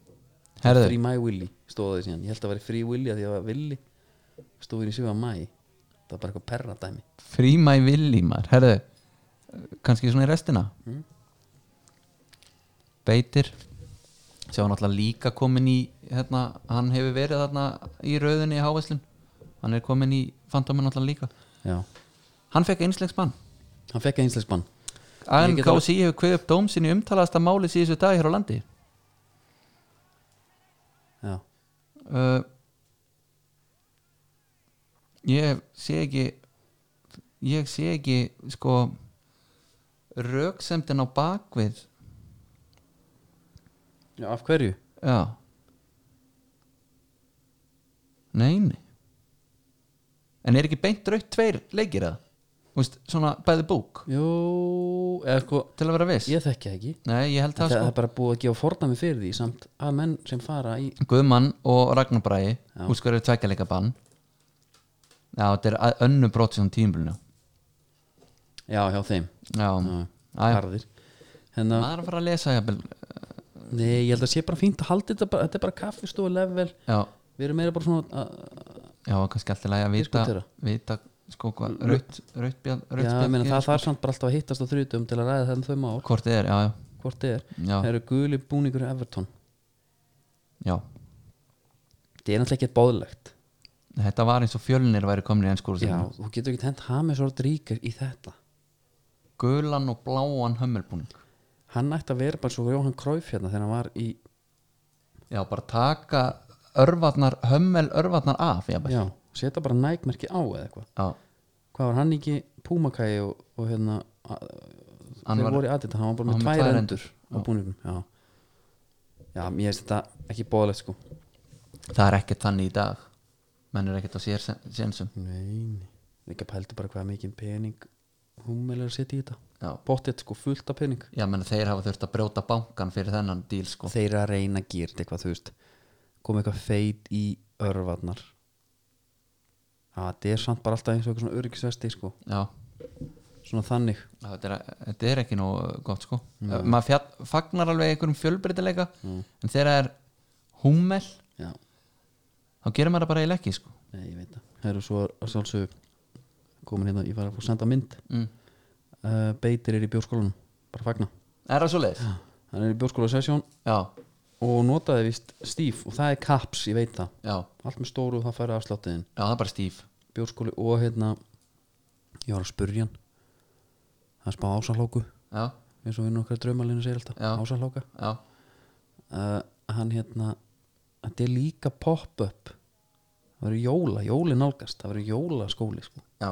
[SPEAKER 3] Herðu,
[SPEAKER 2] mæ villi stóða því síðan ég held að það væri frí villi að því að það var villi stóður í 7. mæ það var bara eitthvað perra dæmi
[SPEAKER 3] frímæ villi maður Herðu, kannski svona í restina
[SPEAKER 2] Mm.
[SPEAKER 3] Beitir Sjá hann alltaf líka komin í hérna, Hann hefur verið þarna í rauðinni í hávæslun Hann er komin í Fantomin alltaf líka
[SPEAKER 2] já,
[SPEAKER 3] Hann fekk einslegsbann
[SPEAKER 2] hann fekk einslegsbann Ég get
[SPEAKER 3] ANKC hefur kveð upp dóm sinni umtalaðasta máli síðustu dag hér á landi
[SPEAKER 2] já,
[SPEAKER 3] uh, ég sé ekki ég sé ekki sko röksemdin á bakvið
[SPEAKER 2] já af hverju?
[SPEAKER 3] já neini en er ekki beint raut tveir leikir eða Úst, svona bæði búk
[SPEAKER 2] jú, eða sko
[SPEAKER 3] til að vera viss
[SPEAKER 2] ég þekki það ekki
[SPEAKER 3] nei ég held
[SPEAKER 2] það,
[SPEAKER 3] það
[SPEAKER 2] það
[SPEAKER 3] sko
[SPEAKER 2] er bara búið að gefa fordæmi fyrir því samt að menn sem fara í
[SPEAKER 3] sko. Guðmann og Ragnar Bræi
[SPEAKER 2] Já.
[SPEAKER 3] hún skorur tveggjarleika bann já þetta er að- önnu brot sem tímbilinu
[SPEAKER 2] já, hjá þeim
[SPEAKER 3] já,
[SPEAKER 2] Já,
[SPEAKER 3] Æ,
[SPEAKER 2] harðir hérna,
[SPEAKER 3] maður er að fara að lesa jafnvel.
[SPEAKER 2] nei, ég held að sé bara fínt að haldi þetta bara, þetta er bara kaffistofu level
[SPEAKER 3] já,
[SPEAKER 2] við erum meira bara svona að,
[SPEAKER 3] já, kannski alltaf að vita,
[SPEAKER 2] Diskutera.
[SPEAKER 3] vita sko hvað, raut, raut, bjall, raut
[SPEAKER 2] já, ég meina, það
[SPEAKER 3] sko-
[SPEAKER 2] þarf samt bara alltaf að hittast á þrjutum til að ræða þannig þau mál
[SPEAKER 3] hvort þið er, já,
[SPEAKER 2] hvort þið er,
[SPEAKER 3] Já.
[SPEAKER 2] það eru guli búningur Everton,
[SPEAKER 3] já, já
[SPEAKER 2] það er náttúrulega ekki bóðlegt
[SPEAKER 3] þetta var eins og fjölnir væri komin í ennskúru
[SPEAKER 2] já, þú getur ekki hent Hames Rodríguez í þetta
[SPEAKER 3] gulan og bláan hömmelbúning
[SPEAKER 2] hann ætti að vera bara svo Jóhann Króif hérna þegar hann var í,
[SPEAKER 3] já, bara taka örvarnar hömmel örvarnar af, já,
[SPEAKER 2] já, setja bara nægmerki á eða eitthvað,
[SPEAKER 3] já
[SPEAKER 2] hvað var hann ekki Púmakæi og, og hérna að-
[SPEAKER 3] Hann
[SPEAKER 2] þeir
[SPEAKER 3] var-
[SPEAKER 2] voru í aðdita, hann var bara
[SPEAKER 3] hann
[SPEAKER 2] með
[SPEAKER 3] var með
[SPEAKER 2] tvær
[SPEAKER 3] tvær
[SPEAKER 2] endur á búningum, já já, mér finnst þetta ekki bóðlegt sko
[SPEAKER 3] það er ekkert þannig í dag menn er ekkert á sér sen- sénsum
[SPEAKER 2] Nei, nei. líka pældu bara hvað mikið pening Hummel er að setja í þetta
[SPEAKER 3] Já.
[SPEAKER 2] Pottet sko fullt af pening
[SPEAKER 3] já, menn þeir hafa þurft að brjóta bankan fyrir þennan díl, sko
[SPEAKER 2] Þeir eru að reyna að gera þetta eitthvað, þú veist Komið eitthvað feit í örvarnar Já, þetta er samt bara alltaf eins og eitthvað svona öryggisvesti sko
[SPEAKER 3] já,
[SPEAKER 2] Svona þannig
[SPEAKER 3] Já, Þetta er, þetta er ekki nóg gott sko ja. maður fjall, fagnar alveg einhverjum fjölbreytileika en þegar það er húmmel
[SPEAKER 2] Já,
[SPEAKER 3] þá gerir maður það bara eiginlega ekki sko
[SPEAKER 2] nei, ég veit það Það eru svo að sjálfsög komin hérna, ég var að fá að senda mynd
[SPEAKER 3] mm.
[SPEAKER 2] uh, Beitir er í bjórskólanum, bara fagna
[SPEAKER 3] er það svo leið?
[SPEAKER 2] Hann er í bjórskóla sesjón
[SPEAKER 3] Já,
[SPEAKER 2] og notaði vist stíf og það er kaps, ég veit það
[SPEAKER 3] já,
[SPEAKER 2] Allt með stóru og það færi afsláttiðin
[SPEAKER 3] já, það er bara stíf
[SPEAKER 2] bjórskóli og hérna ég var að spurja hann það er spá ásalóku
[SPEAKER 3] já,
[SPEAKER 2] eins og við nokkar draumalinu segir alltaf
[SPEAKER 3] Já.
[SPEAKER 2] ásalóka
[SPEAKER 3] já,
[SPEAKER 2] uh, hann hérna þetta er líka pop-up það verður jóla, jóli nálgast það verður jólaskóli sko
[SPEAKER 3] já,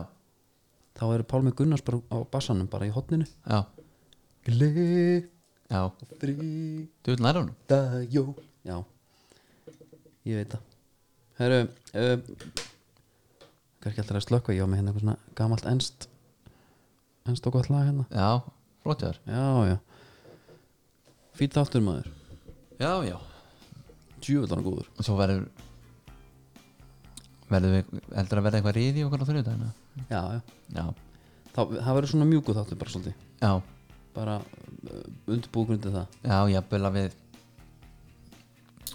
[SPEAKER 2] þá eru Pálmi Gunnars bara á bassanum bara í hotninu
[SPEAKER 3] já,
[SPEAKER 2] gleðri
[SPEAKER 3] já þú vil næra hún?
[SPEAKER 2] jól já, ég veit það herru uh, kannski alltaf að slökka ég á mig hérna eitthvað svona gamalt enst enst og gott lag hérna
[SPEAKER 3] Já, flottiðar
[SPEAKER 2] Já, já Fýtt aftur maður
[SPEAKER 3] Já, já,
[SPEAKER 2] Djúvillan góður
[SPEAKER 3] og svo verður verður við, heldur að verða eitthvað riði okkur á þriðdæðina?
[SPEAKER 2] Já, já
[SPEAKER 3] Já,
[SPEAKER 2] Þá, Það verður svona mjúku þáttur bara svolítið
[SPEAKER 3] já,
[SPEAKER 2] Bara uh, undirbúið grundið það
[SPEAKER 3] já, ég byrla við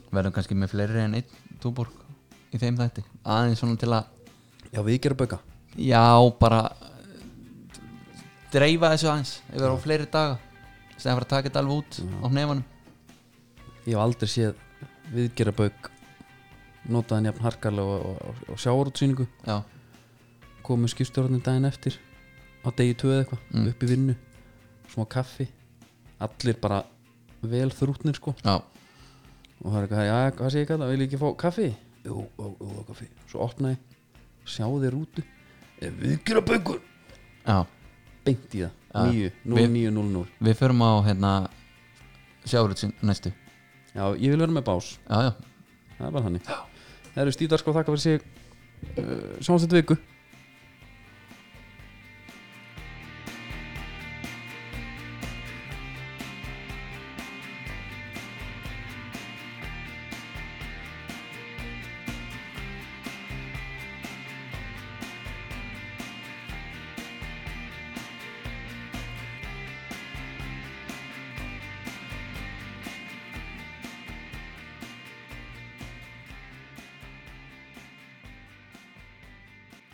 [SPEAKER 3] verðum kannski með fleiri en einn túborg í þeim þætti aðeins svona til að
[SPEAKER 2] Já, við gerum bauka
[SPEAKER 3] Já, bara eh, dreifa þessu aðeins yfir á fleiri daga sem að fara að taka þetta alveg út á nefanum
[SPEAKER 2] Ég hef aldrei séð við gera bauk Notaðan jafn harkarlega og, og, og sjáarútsýningu
[SPEAKER 3] Já,
[SPEAKER 2] Komum skipstjórnum daginn eftir Á degi tvö eða eitthvað
[SPEAKER 3] Mm.
[SPEAKER 2] Upp í vinnu Smá kaffi Allir bara vel þrútnir sko
[SPEAKER 3] já,
[SPEAKER 2] og það er eitthvað, já, hvað sé ég kalla, vil ég ekki fá kaffi? Jú, jú, jú, kaffi Svo opna ég, sjá þér úti Ef við gera baukur
[SPEAKER 3] já
[SPEAKER 2] Beint í
[SPEAKER 3] Já.
[SPEAKER 2] það, 9,
[SPEAKER 3] Við-
[SPEAKER 2] 0, 9, 0, 0
[SPEAKER 3] Við förum á hérna sjáurutsin næstu
[SPEAKER 2] Já, ég vil vera með bás,
[SPEAKER 3] Já, já,
[SPEAKER 2] það er bara þannig Það eru stíðarskóð þakka fyrir sig uh, Sjónsett eh, viku